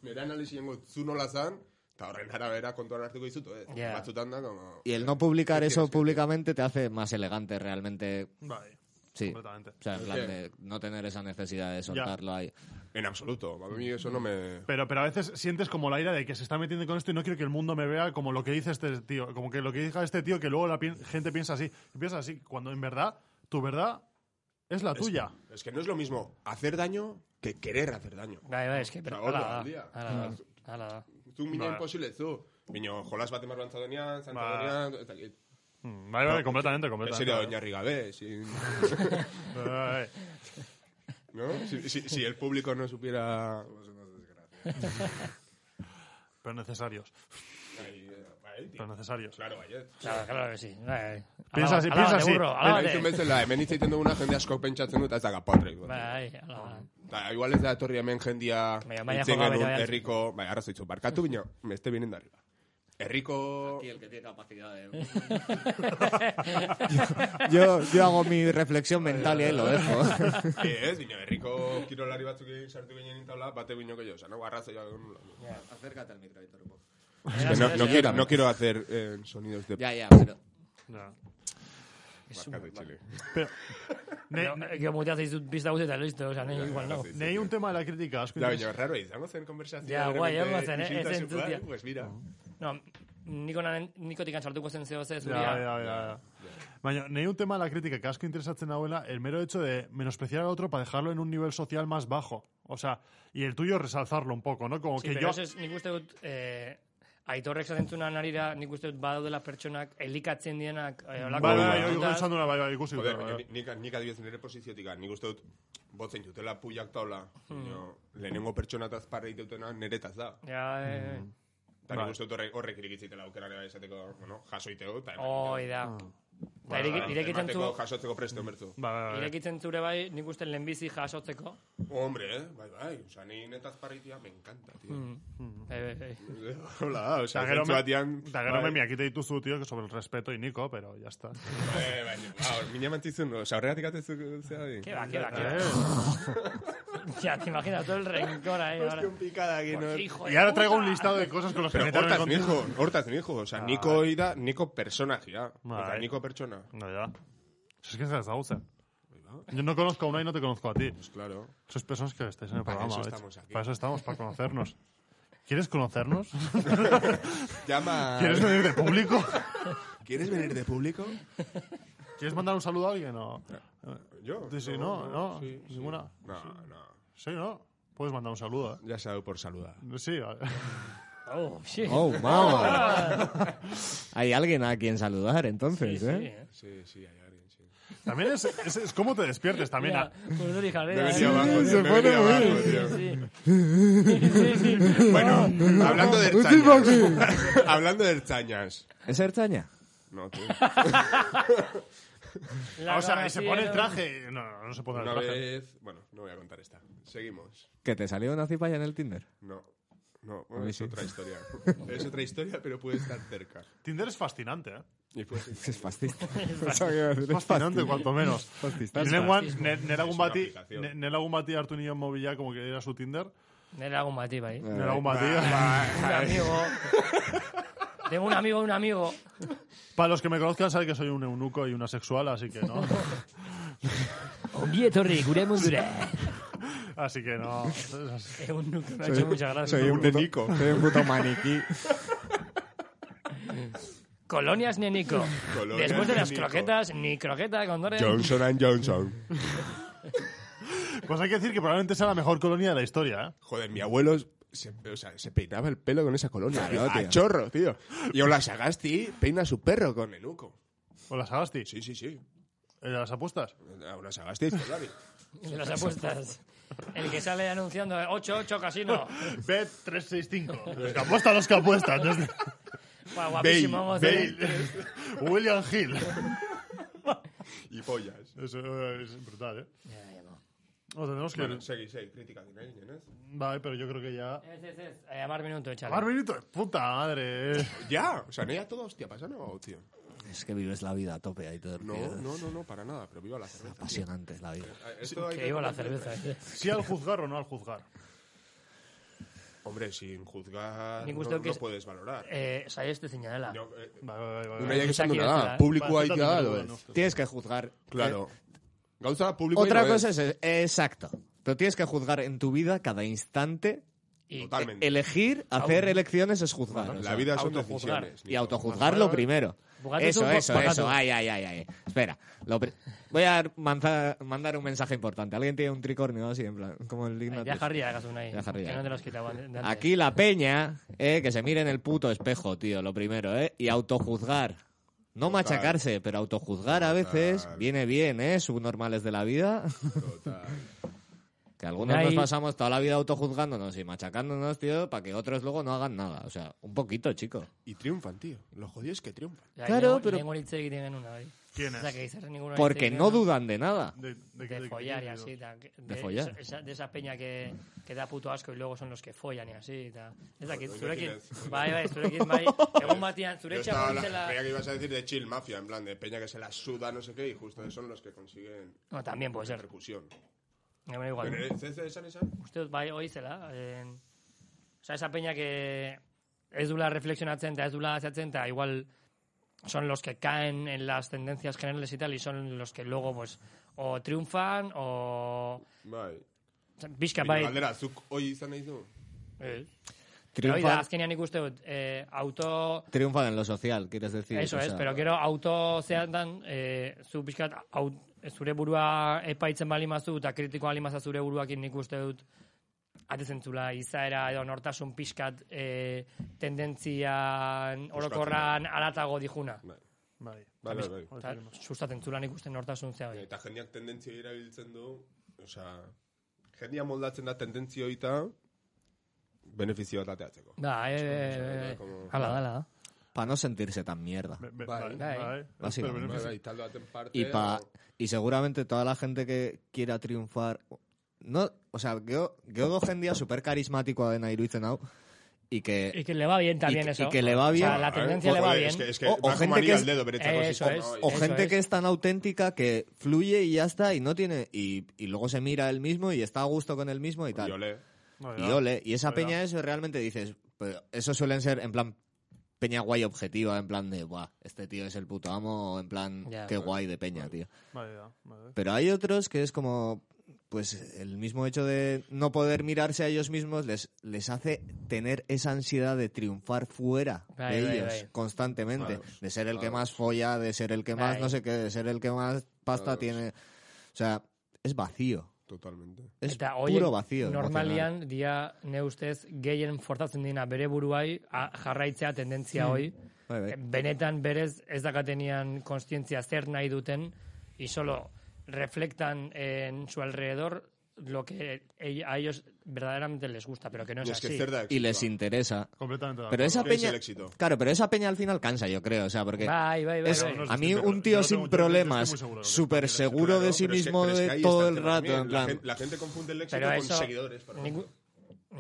D: nire analizien zu nola zan, eta horren arabera kontuan hartuko izutu, ez.
C: Ja.
D: Batzutan da, como...
E: Y el no publicar
D: ¿Qué
E: eso
D: quieres que
E: públicamente te hace más elegante realmente
B: Bai.
E: Sí.
B: completamente.
E: O sea, en plan
D: Sí.
E: de no tener esa necesidad de soltarlo ahí.
D: En absoluto. A mí eso no me...
B: Pero, pero a veces sientes como la ira de que se está metiendo con esto y no quiero que el mundo me vea como lo que dice este tío, como que lo que diga este tío que luego la pi- gente piensa así. Y piensa así, cuando en verdad, tu verdad es la tuya.
D: Es que no es lo mismo hacer daño que querer hacer daño.
C: Bai, bai, eski, pero
D: Ba, hor da,
C: hala da,
D: handia.
C: hala da, hala da.
D: Zu mino
B: Ba.
D: imposible, zu. Mino jolas bat emar bantza denean, zanta
B: Ba.
D: denean, eta ki-
B: Mm, Vale, vale, completamente,
D: En
B: completamente.
D: serio,
C: ¿eh?
D: oinarri gabe, sin...
B: Vale, vale.
D: ¿No? Si, si- si el público no supiera...
B: Pero necesarios,
D: Ahí, eh, bai, tío.
B: pero necesarios.
D: Claro, baiet.
C: Claro, claro que sí. Bai, bai.
B: Piensa así, piensa así.
C: burro,
D: Bueno,
C: alabate.
D: entzun bezala, hemen hitz egiten duguna jende asko pentsatzen dut, ez da gapotre.
C: Bai, hala da.
D: Eta, igual ez da etorri hemen jendia
C: Baina, baina
D: hitzen
C: joka, baina,
D: genuen
C: baina.
D: herriko, bai, arrazoitzu, barkatu bino, beste bienen darriba. Herriko...
E: el que tiene capacidad de... *laughs* yo, yo hago mi reflexión mental y ahí lo dejo.
D: Eh, ez, bino, herriko kirolari batzuk egin sartu ginen intaula, bate bino gehiago, oza, no, arrazoia...
E: Acércate al micro, Aitor, un poco.
D: Es que no, no, quiero, no quiero hacer eh, sonidos de...
E: *laughs* Ya, ya, pero...
B: Ya.
D: Barkatu, Txile.
B: Ne-
C: Ne- Gero mutea zaizut pista guzti eta listo, oza, nahi igual no.
D: Barkatu,
B: Leí un tema de la crítica, asko
D: Ja,
B: interes-
D: baina, raro izango zen konversazioa.
C: Ja,
D: de
C: guai,
D: repente,
C: egon zen, eh,
D: isiltasun
C: ez entzutia.
D: bat, Pues mira.
C: No, niko nanen, nikotik antzartuko zen zeo ze,
B: Ya, ya,
C: zuria.
B: ya, ya. Baina, nahi un tema de la crítica que asko interesatzen nahuela, el mero hecho de menospreciar al otro para dejarlo en un nivel social más bajo. O sea, y el tuyo resalzarlo un poco, ¿no? Como
C: Sí,
B: que
C: pero
B: yo...
C: ez, ez, nik uste dut, eh, aitorrek zaten zunan arira, nik uste dut badaudela pertsonak, elikatzen dienak, eh, holako
B: Bai, bai,
D: Bai,
B: bai,
C: gauzaz.
B: ikusi dut, bai, bai, ikusi dut,
D: Joder,
B: bai,
D: baina
B: bai.
D: nik, nik adibidez nire posiziotik, nik uste dut, botzen jutela puiak taula, baina lehenengo pertsonataz parre iteutena niretaz da.
C: Ja, eh,
D: Eta nik
B: Bai.
D: uste dut horrek, horrek irikitzitela aukera ere esateko, bueno, jasoiteu, eta
C: hoi da.
D: Ah.
C: Ba, ireki- irekitzen zu,
D: Emateko jasotzeko presto bertu.
B: Bai, bai, bai.
C: irekitzen zure bai, nik uste lehenbizi jasotzeko.
D: Hombre, eh? Bai, bai, oza, ni netaz parre itea, me encanta, tío.
C: Bai, bai, bai.
D: *laughs* Hola,
B: Eta
D: oza,
B: gero
D: zentzu
B: me-
D: batian...
B: eta gero me miakite dituzu, tío, que sobre el respeto y Nico, pero ya está.
D: Eh, baina, hau, mina mantizun, oza, horregatik atezu, zera di.
C: Ke ba, ke ba, ke
B: Eh,
C: ba. *laughs* Ya, te imaginas todo el rencor ahí. ahora.
D: pikada,
C: Pues, hijo de
B: Y ahora traigo
C: puta.
B: un listado de cosas con las que
D: Pero
B: me tengo que
D: hortaz
B: contar.
D: nijo, hortaz nijo, oza, niko hori da, niko personajia, eta
B: Bai.
D: niko pertsona.
B: No, ya. Si es que se las usan. Yo no conozco a una y no te conozco a ti.
D: Pues claro.
B: Sois personas que estáis en el
D: Para
B: programa.
D: eso
B: de hecho.
D: estamos aquí.
B: Para eso estamos, para conocernos. ¿Quieres conocernos?
D: *laughs* Llama.
B: ¿Quieres venir de público? *laughs*
D: ¿Quieres venir de público?
B: ¿Quieres mandar un saludo a alguien? O...
D: Yo.
B: Sí, sí, no, no.
D: sí, sí.
B: Ninguna.
D: No, no.
B: Sí, ¿no? Puedes mandar un saludo, ¿eh?
D: Ya sabe por saludar.
B: Sí, vale.
C: Oh, sí.
E: ¡Oh, mamá! *laughs* Hay alguien a quien saludar, entonces,
C: Sí,
E: ¿eh?
C: eh.
D: Sí, sí, hay alguien, sí.
B: *laughs* También es, es, es cómo te despiertes. También
C: Mira,
B: a-
C: pues no dije,
D: Me
C: eh.
D: venía abajo, tío.
E: se
D: me
E: pone
D: venía
E: muy
D: abajo,
C: Sí,
D: tío.
C: sí. Sí,
D: *laughs*
C: sí.
D: Bueno, hablando de ertzañas. *laughs* hablando de ertzañas.
E: ¿Es Ertaña?
D: No, tú.
C: La
B: o sea, y se pone el
C: grabación.
B: traje. No, no, no se pone el
D: Una
B: traje.
D: vez. Bueno, no voy a contar esta. Seguimos.
E: ¿Que te salió una cipaya en el Tinder?
D: No. No, bueno,
E: mí
D: es
E: sí.
D: otra historia. *laughs* Es otra historia, pero puede estar cerca.
B: Tinder es fascinante, ¿eh?
D: Y pues, puede ser-
E: Es fascista. Pensaba que iba a decir, es
B: Fascinante, cuanto
D: *laughs*
B: menos.
E: fascista.
B: Nireguan,
C: fascismo.
B: ne- nelagun
D: Es una
B: bati,
D: aplicación.
B: ne- nelagun bati hartu nion mobila, como que era su Tinder.
C: Nere lagun bati, bai.
D: Eh,
C: Un
B: Nelagun bati.
C: amigo. Tengo un amigo, un amigo.
B: Para los que me conozcan, saben que soy un eunuco y una sexual, así que
D: *laughs*
B: no.
C: Ongi etorri, gure *laughs* mundura.
B: Así que no. Es-
C: Egun nuke, me ha hecho mucha gracia.
E: Soy un,
D: Un de
E: puto,
D: Nico.
E: soy un puto maniquí.
C: Colonias Nenico.
D: Colonias
C: Después de las
D: Nenico.
C: croquetas, ni croqueta con Doren.
D: *laughs* Johnson and Johnson.
B: Pues hay que decir que probablemente sea la mejor colonia de la historia, ¿eh?
D: Joder, mi abuelo se, o sea, se peinaba el pelo con esa colonia.
E: Claro,
D: tío.
E: tío.
D: A chorro, tío. Y Ola Sagasti peina a su perro con enuco.
B: ¿O las Agasti?
D: Sí, sí, sí.
B: ¿Eh, ¿Las apuestas?
D: A Ola Sagasti es Ferrari.
C: *laughs* De las apuestas. El que sale anunciando 8-8
E: *laughs*
C: casino.
D: *laughs*
B: Bet365. Los que apuestan, los que apuestan. *laughs* Desde-
C: Guau, guapísimo.
D: Bale,
C: mozo.
B: William Hill.
D: y pollas.
B: Eso es brutal, ¿eh?
C: Ya, ya, no.
B: No, tenemos que...
D: Bueno, seguí, seguí. Crítica, ¿quién es? ¿Quién es?
B: Vale, pero yo creo que ya...
C: Ez, ez, ez. Eh, Amar minutu, etxale.
B: Mar minuto de puta madre. eh.
D: Ya, o sea, no ya todo, hostia, pasa no, tío.
E: Es que vives la vida a tope, Aitor.
D: No,
E: tío.
D: no, no, no, para nada, pero viva la cerveza.
E: Apasionante la vida.
D: Ah, Esto hay
C: Que iba la cerveza. eh.
B: Sí al juzgar o no al juzgar.
D: Hombre, sin juzgar,
C: Nik
D: no,
C: uste dut que
D: no
C: es-
D: puedes valorar.
C: Eh, saieste zina dela.
D: Yo, eh,
B: Vale, vale, vale, vale.
D: una ya que ¿eh?
C: Gizaki
D: nada,
C: bezala.
D: publikoa
B: Ba, ez dut
D: egitea da,
B: atuko
D: edo
B: dut,
D: ez?
B: uste.
E: Tienes que juzgar.
D: Claro. Gauza publikoa
E: eh, Otra cosa es, es- exacto. Pero tienes que juzgar en tu vida cada instante.
C: Y
D: Totalmente.
E: Elegir, hacer elecciones es juzgar. o sea,
D: La vida son
C: autojuzgar.
D: decisiones.
E: Y autojuzgarlo primero.
C: Bogatu
E: eso,
C: tu-
E: eso,
C: bogatu.
E: eso. Ay, ay, ay, ay. Espera. Lo pri- Voy a manza- mandar un mensaje importante. Alguien tiene un tricornio así, en plan, como el Ignatus.
C: Ya jarría, hagas una ahí.
E: Ya jarría.
C: Que no te los quitaban de antes.
E: Aquí la peña, eh, que se mire en el puto espejo, tío, lo primero, eh. Y autojuzgar. No machacarse, pero autojuzgar a veces viene bien, eh. Subnormales de la vida. *laughs* Que algunos
C: Unai-
E: nos pasamos toda la vida autojuzgándonos y machacándonos, tío, para que otros luego no hagan nada. O sea, un poquito, chico.
D: Y triunfan, tío. Lo jodido es que triunfan.
C: Ya,
E: Claro,
C: ningún-
E: pero-
C: ningún hitz egiten genuen, hori.
B: ¿Quién
C: O sea,
B: es?
C: que izarren ninguno
E: Porque
C: hitz egiten
E: no
C: genuen.
E: dudan de nada.
B: De, de- de-
C: De follar y
B: de-
C: así. ta, que-
E: De follar.
C: Esa, de esa peña que, que da puto asco y luego son los que follan y así. Ta. Ez dakit,
D: Oiga,
C: zurekin.
D: tienes.
C: Bai,
D: *laughs*
C: bai, zurekin, bai. Egun batian,
D: Yo
C: zure
D: estaba
C: etxean
D: la
C: zela...
D: peña que ibas a decir de chill mafia, en plan de peña que se la suda, no sé qué, y justo son los que consiguen
C: No, también puede ser.
D: repercusión.
C: Egun igual.
D: Pero, eh, ¿Zer zer esan esan?
C: Uste dut, bai, hori zela. Eh, osa, esa peña que ez dula reflexionatzen eta ez dula azatzen eta igual son los que caen en las tendencias generales y tal y son los que luego, pues, o triunfan o...
D: Bai.
C: Bizka,
D: Baina
C: bai.
D: Galdera, zuk hoi izan nahi du?
C: Eh, hori da,
E: Triunfan,
C: azkenean ikuste dut, eh, auto...
E: triunfan en lo social, quieres decir.
C: Eso
E: o
C: es,
E: sea,
C: pero gero auto zeatan, eh, zu pixkat, au, zure burua epaitzen bali mazu, eta kritikoa bali maza zure buruakin nik uste dut, atezen zula izaera edo nortasun pixkat eh, tendentzian orokorran aratago dihuna.
D: Bai.
B: Bai.
D: Bai, bai, bai.
C: Eta sustatzen zula nik uste nortasun zea hori.
D: Eta jendeak tendentzia erabiltzen du, osea, jendia moldatzen da tendentzia eta benefizio bat ateatzeko.
C: Da, eh, eh, eh, hala, hala.
E: Para no sentirse tan mierda.
B: Be- be-
D: Bai.
B: Bai.
C: Bai.
B: Bai.
E: Básicamente.
B: Pero
D: Bai,
B: beneficio-
D: bai, talde baten parte...
E: Y, pa,
D: o-
E: y seguramente toda la gente que quiera triunfar... No, o sea, yo geodo día súper carismático de iruditzen hau, y
C: Y
E: que...
C: que le va bien también
E: Y que-
C: eso.
E: y que le va bien.
C: O sea, la
D: Ah,
C: tendencia
D: eh,
C: le va
D: joder,
C: bien.
D: Es que, es que
E: O- o
D: bajo
E: gente
D: manía
E: que es-
D: el dedo, beretzako
C: Eso
D: sistema,
C: es.
D: oye.
E: O
C: Eso
E: gente
C: es.
E: que es tan auténtica que fluye y ya está, y no tiene... Y, y luego se mira él mismo y está a gusto con él mismo y
C: Pues
E: tal.
D: Y olé.
B: No,
E: Y
B: ya.
E: ole, y esa
B: Oiga.
E: peña eso realmente dices, pero eso suelen ser en plan peña guay objetiva, en plan de, buah, este tío es el puto amo, o en plan,
C: Ya.
E: qué guay de peña, tío.
B: Bai, da, bai.
E: Pero hay otros que es como, pues el mismo hecho de no poder mirarse a ellos mismos les, les hace tener esa ansiedad de triunfar fuera
C: Ahí,
E: de
C: ahí,
E: ellos
C: ahí.
E: constantemente,
D: Vamos,
E: de ser el que
D: vamos.
E: más folla, de ser el que más
C: Ahí.
E: no sé qué, de ser el que más pasta
D: Vamos.
E: tiene. O sea, es vacío.
D: Totalmente.
E: Es
C: Eta horiek
E: puro vacío. emocional.
C: Normalian, dia, ne ustez, gehien forzatzen dina bere buruai a- jarraitzea tendentzia hoi. Eh,
E: Bai, bai.
C: Benetan berez ez dakatenian konstientzia zer nahi duten, y solo reflectan en su alrededor lo que ell- a ellos verdaderamente les gusta, pero que no es
D: Y es que
C: así.
D: zer da
E: Y
D: éxito.
E: les interesa.
B: Completamente de
E: Pero
B: acuerdo.
E: esa
D: ¿Qué es
E: peña.
D: el éxito?
E: Claro, pero esa peña al final cansa, yo creo. O sea, porque.
C: Bai, bai, bai.
E: es-
C: bai.
B: no, no,
E: a
B: sí,
E: mí
B: pero
E: un
B: yo
E: tío
B: lo
E: sin
B: tengo- yo- yo
E: problemas,
B: estoy muy seguro de lo que
E: súper
B: está haciendo.
E: seguro
D: Claro,
E: de sí
D: pero es que-
E: mismo
D: pero es que ahí
E: de
D: está
E: todo el
D: tema
E: rato.
D: también.
E: En
D: La
E: plan.
D: gente, la gente confunde el éxito
C: pero
D: con
C: eso,
D: seguidores. por
C: nik,
D: ejemplo.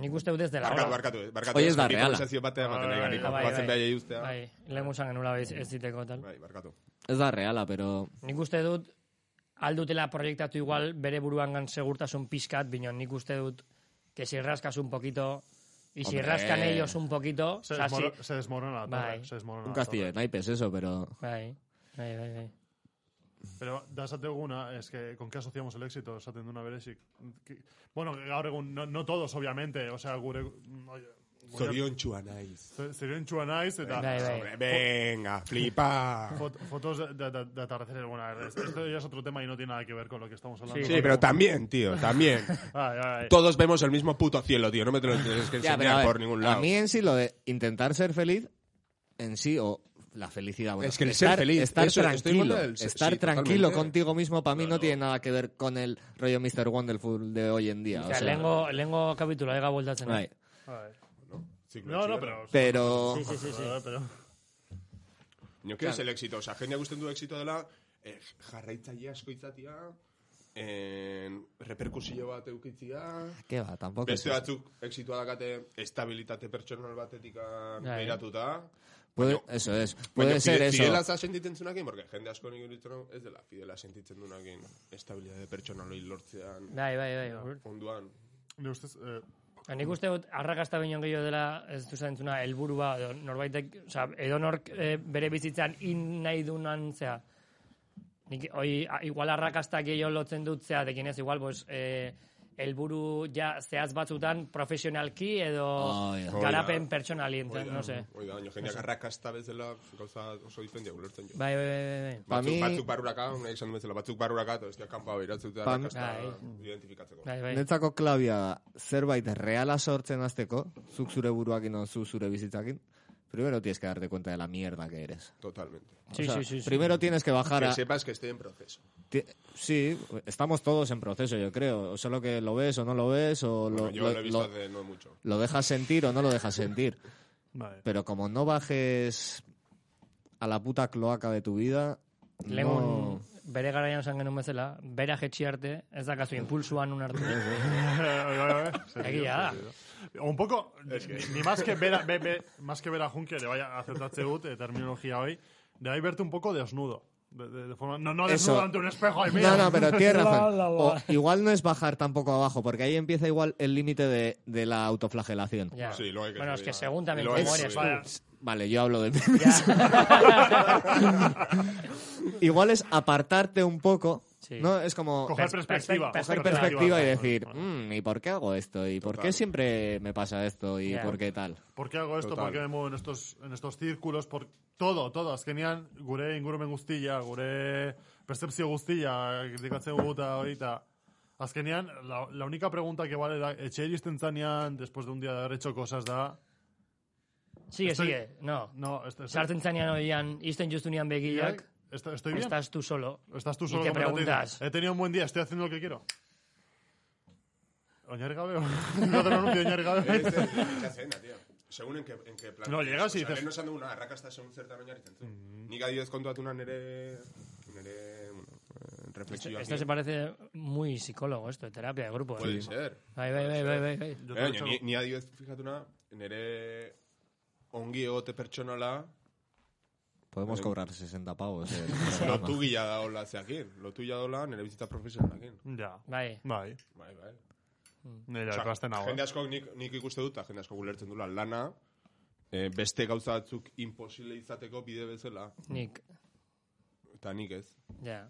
C: nik uste dut ez dela.
D: Barkatu,
C: horra.
D: barkatu, eh, barkatu.
E: Hori ez da
D: Hori
E: reala.
D: konversazio batean ematen ari
B: Bai,
D: gara,
C: bai,
D: batzen
C: bai.
D: baiei uztea.
C: Bai, lehen guzan genula ez, ez diteko tal.
D: Bai, barkatu.
E: Es la reala, pero.
C: Nik uste dut, aldutela proiektatu igual bere buruangan segurtasun pixkat, bino nik uste dut, que si rascas un poquito, y si
E: Hombre.
C: rascan ellos un poquito,
B: Se,
C: o sea, si-
B: desmoro- se desmorona la torre.
C: Bai.
B: Se
D: Ah,
B: desmorona
E: Un
B: la
E: castillo de
B: torre.
E: naipes, eso, pero.
C: Bai, bai, bai, bai.
B: Pero dasate una, es que ¿con qué asociamos el éxito? Esaten duna berezik. Ki- Bueno, gaur egun, no, no todos, obviamente. O sea, gure... oie, gure-
D: Zorion txua naiz.
B: Ze- Zoriontsua naiz, eta...
C: Bai, bai.
D: Hombre, Venga, flipa.
B: Fot- fotos de, de- de atardeceres, bueno, es- esto ya es otro tema y no tiene nada que ver con lo que estamos hablando.
D: Sí, pero también, tío, también.
B: Ay, ay, ay.
D: Todos vemos el mismo puto cielo, tío. No me te lo tienes que
E: Ya,
D: enseñar
E: pero a, ver,
D: por ningún
E: a
D: lado.
E: mí en sí lo de intentar ser feliz, en sí, o la felicidad. bueno,
D: Es que el ser
E: estar,
D: feliz,
E: estar
D: eso, estoy en
E: tranquilo,
D: contra del ser-
E: estar
D: sí,
E: tranquilo
D: totalmente.
E: contigo mismo para mí no, tiene nada que ver con el rollo Mr. Wonderful de hoy en día.
C: O
E: O
C: sea,
E: sea,
C: lengo, lengo kapitula ega bueltatzen.
E: bai.
B: Ay.
D: Ziklo
B: No, no,
D: txua.
B: pero...
E: Pero.
C: Sí, sí, sí, sí.
B: pero-
D: Nio, ¿qué es el éxito? O sea, jendeak gusten du éxito dela, eh, jarraitzaile asko izatia, eh, reperkusio bat eukitzia,
E: ¿Qué va? Tampoco. es
D: beste batzuk exitoa dakate estabilitate pertsonal batetik
C: Bai.
D: beiratuta.
E: Puede, eso es. Puede ser eso.
D: Fidela za sentitzen zunakin, porque jende asko nik iruditzen hau, ez dela fidela sentitzen dunakin estabilitate pertsonaloi lortzean,
C: Bai, bai, bai.
D: onduan.
B: Nire ustez, eh,
C: Ba, Nik uste dut, arrakasta baino gehiago dela, ez duzta entzuna, helburua, edo norbaitek, oza, edo nork eh, bere bizitzan in nahi dunan, zera, Nik, hoi, a- igual arrakastak gehiago lotzen dut zea, dekin ez, igual, pues, eh, helburu ja zehaz batzutan profesionalki edo
E: Hoi da.
C: garapen
D: Hoi da.
C: pertsonali, enten, no sé.
D: Hoi da, baina jendeak arrakasta bezala gauza oso diferentia ulertzen jo.
C: Bai, bai, bai, bai.
E: Pa
D: Batzuk,
E: mi-
D: batzuk baruraka, nahi esan duen bezala, batzuk baruraka, eta bestiak kanpa behiratzuta
E: Pa-
D: arrakasta
C: Bai.
D: identifikatzeko.
C: Bai, bai.
E: Netzako klabia da, zerbait reala sortzen azteko, zuk zure buruakin o zu zure bizitzakin, primero tienes que darte cuenta de la mierda que eres.
D: Totalmente.
E: O
C: Sí,
E: sea,
C: sí, sí, sí.
E: Primero tienes que bajar
D: Que
E: a...
D: sepas que estoy en proceso.
E: ti- Sí, estamos todos en proceso, yo creo. O sea, lo que lo ves o no lo ves, o lo,
D: Bueno, yo lo,
E: lo-
D: he visto
E: lo-
D: hace no mucho.
E: lo dejas sentir o no lo dejas sentir.
B: Vale.
E: Pero como no bajes a la puta cloaca de tu vida,
C: Legun
E: no...
C: bere garaian esan genuen bezala, bera jetxi arte, ez dakazu impulsuan un
D: *laughs*
C: hartu. Egia da.
B: Un poco, ni más que ver a, ve- ve- más que ver a Juncker, le vaya a aceptarse ut, eh, terminología hoy, debáis verte un poco desnudo. De, de- de forma, no, no
E: Eso.
B: desnudo ante un espejo, ay, mira.
E: No, no, pero tienes razón.
C: *laughs* La, la, la.
E: O igual no es bajar tampoco abajo, porque ahí empieza igual el límite de, de la autoflagelación.
C: Ja.
D: Sí, luego hay que
C: bueno, es
D: subir,
C: que
D: va.
C: según también
D: Y luego hay
C: cómo
D: que
C: eres.
D: subir.
C: tú.
B: Vaya,
E: Vale, yo hablo de mí.
C: Ya. *laughs*
E: igual es apartarte un poco,
C: Sí.
E: ¿no? Es como
B: coger
C: Pers-
B: perspectiva.
C: perspe-
E: coger
C: perspectiva,
E: perspectiva y decir, "Mm, ¿y por qué hago esto? ¿Y por qué siempre me pasa esto? ¿Y
C: Ya.
E: por qué tal?
B: ¿Por qué hago esto?
D: Total.
B: ¿Por qué me muevo en estos, en estos círculos? Por todo, todo. Azkenean, gure ingurumen guztia, gure percepzio guztia, kritikatzen guta, ahorita. Azkenean, la, la única pregunta que vale da, etxe iristen zanean, después de un día de haber hecho cosas, da...
C: Sigue,
B: Estoy-
C: sigue. No.
B: No, este, este-
C: Sartzen zanean oian, izten justunean begiak,
B: Est- estoy bien.
C: estás tú solo.
B: Estás tú
C: y
B: solo.
C: te
B: como no dicen,
C: preguntas.
B: He tenido un buen día, estoy haciendo lo que quiero. Oñar Gabeo. *laughs* no te lo anuncio, Oñar Gabeo.
E: Eh,
D: Este, ¿Qué hacen, tío? Según en qué, en qué plan.
B: No, llegas y
D: Osea,
B: dices- Mm.
D: lehen esan duguna, arrakasta segun zertan oinarritzen zen. Nik adibidez kontuatu nan nere... Nere... Bueno, eh, reflexioak.
C: Esto se parece muy psicólogo, esto, de terapia de grupo.
D: Puede
C: eh.
D: ser.
C: Bai, bai, bai, bai, bai, bai.
B: Yo te lo he
D: Eh,
B: hecho-
D: ni, ni adibidez fijatuna, nere... Ongi egote pertsonala,
E: Podemos cobrar 60 pavos. eh,
D: lotu gila daola zeakin. Lotu gila daola nere bizitza profesionalakin.
B: Ya.
C: Bai.
B: Bai.
D: Bai, bai.
B: Nire
D: Osea,
B: ikasten nago. eh.
D: jende askok nik, nik ikuste dut, eta jende askok ulertzen dula lana, eh, beste gauza batzuk imposible izateko bide bezala,
C: Nik,
D: eta nik ez.
C: ja.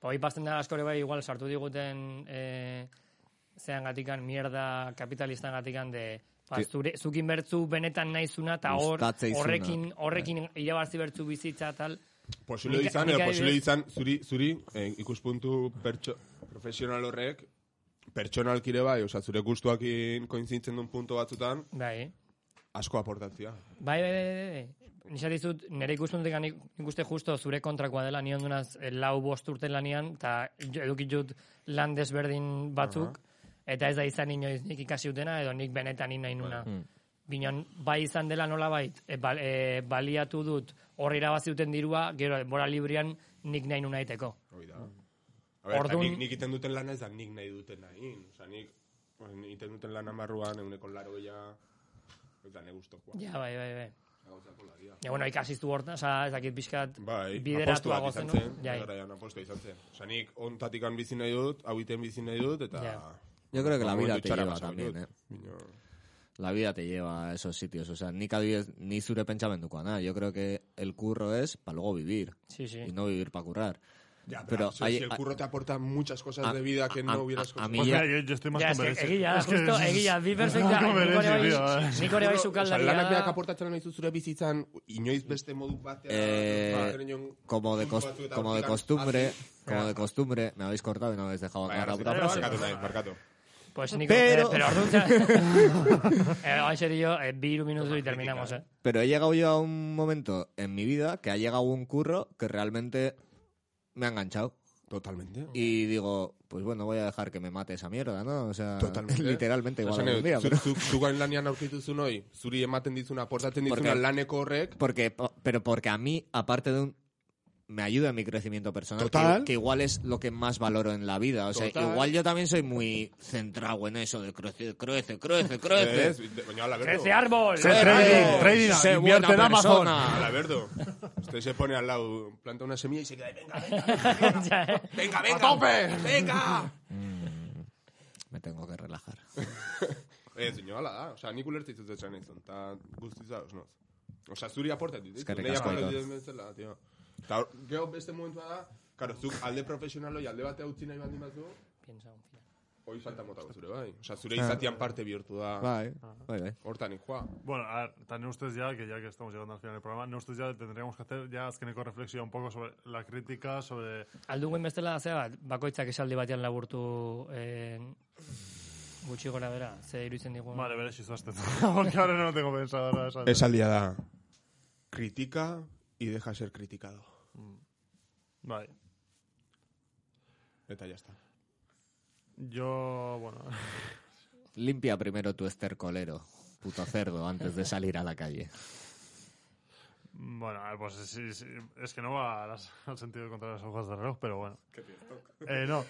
C: Hoi pasten da askore bai, igual sartu diguten eh, zean gatikan, mierda kapitalistan gatikan de... Ba,
E: Ti-
C: zure, zukin bertzu benetan naizuna eta hor
E: Gustatzeizuna.
C: horrekin horrekin
B: Bai.
C: irabazi bertzu bizitza tal
D: Posible
C: Nik-
D: izan,
C: nik
D: edo
C: adibidez-
D: posible izan, zuri, zuri eh, ikuspuntu pertso, profesional horrek, pertsonalkire bai, oza, zure gustuakin koinzintzen duen punto batzutan,
C: bai
D: asko aportatzia.
C: Bai, bai, bai, bai, bai. Nisa dizut, nire ikuspuntutik nik nik uste justo zure kontrakoa dela, nion dunaz eh, lau bost urte lanian, eta edukitut lan desberdin batzuk, eta ez da izan inoiz nik ikasi dutena, edo nik benetan ni nahi nuna. Mm. Binon, bai izan dela nola bait, e, bal- e, baliatu dut horri irabazi duten dirua, gero denbora librian nik nahi nuna iteko.
D: Hoi da. A ber,
C: Orduan-
D: Ordun... nik, nik iten duten lana ez da nik nahi duten nahi. Oza, nik, bueno, nik iten duten lana barruan, eguneko laro gehiago, eta ne gustokoa.
C: Ja, bai, bai, bai.
D: Gauzako laria.
C: Ja, bueno, ikasizu hortan, oza, ah, ez dakit pixkat
D: Bai,
C: bideratua
D: apostua izan
C: gozenu.
D: zen,
C: Jai.
D: garaian apostua izan zen. Osa, nik ontatik bizi nahi dut, hau iten bizi nahi dut, eta... Ba,
C: Ja.
E: Yo creo que la vida
D: Momentu
E: te
D: txarra
E: lleva
D: pasatu
E: también,
D: dut.
E: eh.
D: Baina-
E: la vida te lleva a esos sitios. O sea, ni adibidez, ni zure nada. Yo creo que el curro es para luego vivir.
C: Sí, sí.
E: Y no vivir para currar.
D: Ya,
E: Pero
D: pero, si,
E: hay-
D: si el
E: hay-
D: curro te aporta muchas cosas
E: a-
D: de vida que
E: a- a-
D: no hubieras
E: a mí
B: Pues
E: ya-
B: mira, yo, yo estoy más
C: Ja,
B: con
C: eske,
B: Berezi.
C: egia,
B: Es que-
C: justo, egia, bi perfecta,
B: Con
C: nik hori
B: Berezi,
C: bai,
B: tío, eh.
C: nik hori bai
D: Osea, lanak
C: sukaldaria
D: berak
C: da.
D: aportatzen nahi zure bizitzan, inoiz beste modu batean...
E: Eh,
D: ba, zeren jon-
E: Como de,
D: puntu
E: cos-
D: batzuetan
E: como de
D: hortikan
E: costumbre,
D: hazi.
E: como de costumbre, me habéis cortado y no habéis dejado
D: Bai,
E: acabar la
D: arrazi-
E: puta
D: eh,
E: frase.
D: Barkatu nahi, barkatu.
C: Pues Nico,
E: Pero-
C: pero... Eh, pero
B: *laughs*
C: Arrucha... eh, hoy serio, eh, vi un minuto y terminamos, eh.
E: Pero he llegado yo a un momento en mi vida que ha llegado un curro que realmente me ha enganchado.
D: Totalmente.
E: Y digo, pues bueno, voy a dejar que me mate esa mierda, ¿no? O sea,
D: Totalmente.
E: *laughs* literalmente igual
D: Esan
E: algún
D: nahi
E: día,
D: dut,
E: pero-
D: zu- zu- Zugain lanean aurkitu zuen hoi, zuri ematen dizuna, aportatzen
E: Porque-
D: dizuna laneko horrek,
E: Porque, po- pero porque a mí, aparte de un... Me ayuda en mi crecimiento personal,
D: Total.
E: Que, que igual es lo que más valoro en la vida. O sea,
D: Total.
E: igual yo también soy muy centrado en eso de crece, crece, crece, crece.
D: ez, de- baina ala berdo.
C: ¡Crece árbol!
B: Sí, trading, trading,
E: eh, sé
B: invierte
E: buena
B: en Amazon.
E: persona.
D: Ala berdo. Usted se pone al lado, planta una semilla y se queda ahí, venga, venga,
C: *laughs* Ya, eh.
D: venga, venga, tope, venga.
E: Me tengo que relajar.
D: Ez, ino, ala da. Osa, nik ulertze izuz etxan izan, eta guztiz da, osnoz. Osa, zuri aportet ditu,
E: Eskerrik
D: nahi
E: asko,
D: aportet
E: Aitor.
D: ditu bezala, tio. Eta hor, gero beste momentua da, Karo, zuk alde profesionalo alde batea utzi nahi baldin bazu,
C: Piensa un final.
D: hoi falta mota zure, bai. Osa, zure izatian parte bihurtu da.
E: Bai, bai, bai.
D: Hortan ikua.
B: Bueno, a ver, también ustedes ya, que ya que estamos llegando al final del programa, no ustedes ya tendríamos que hacer ya Azkeneko reflexión un poco sobre la crítica, sobre...
C: Aldugun bestela, zera bat, bakoitzak esaldi batean laburtu eh, gutxi gora bera, ze iruditzen digun.
B: Vale, veré si estás *laughs* porque ahora no lo tengo pensado. ahora, ¿sabes?
D: día da. Critica y deja ser criticado.
B: Vale.
D: Eta ya está.
B: Yo, bueno... *laughs*
E: Limpia primero tu estercolero, puto cerdo, antes de salir a la calle.
B: Bueno, a ver, pues sí, sí, es que no va a las- al sentido contra las hojas de reloj, pero bueno. Eh, no.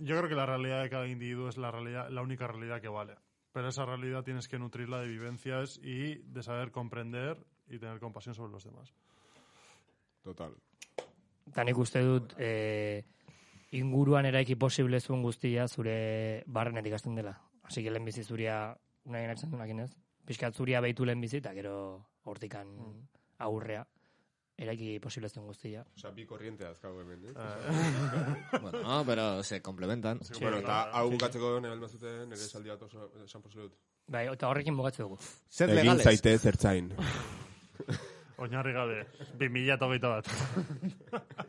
B: Yo creo que la realidad de cada individuo es la realidad, la única realidad que vale. Pero esa realidad tienes que nutrirla de vivencias y de saber comprender y tener compasión sobre los demás.
D: Total.
C: Eta nik uste dut eh, inguruan eraiki posible zuen guztia zure barrenetik hasten dela. Hasi que lehenbizi zuria, nahi eratzen duenak inez, pixkat zuria behitu lehenbizi eta gero hortikan aurrea eraiki posible zuen guztia.
D: Osa, bi korriente azkago hemen, eh?
E: Bueno, no, pero se complementan.
D: bueno, eta hau bukatzeko nire almazuten, nire esaldi bat oso esan posible dut.
C: Bai, eta horrekin bugatze dugu.
E: Sed legales.
D: zertzain.
B: Oñarri gabe, 2000 eta hogeita bat.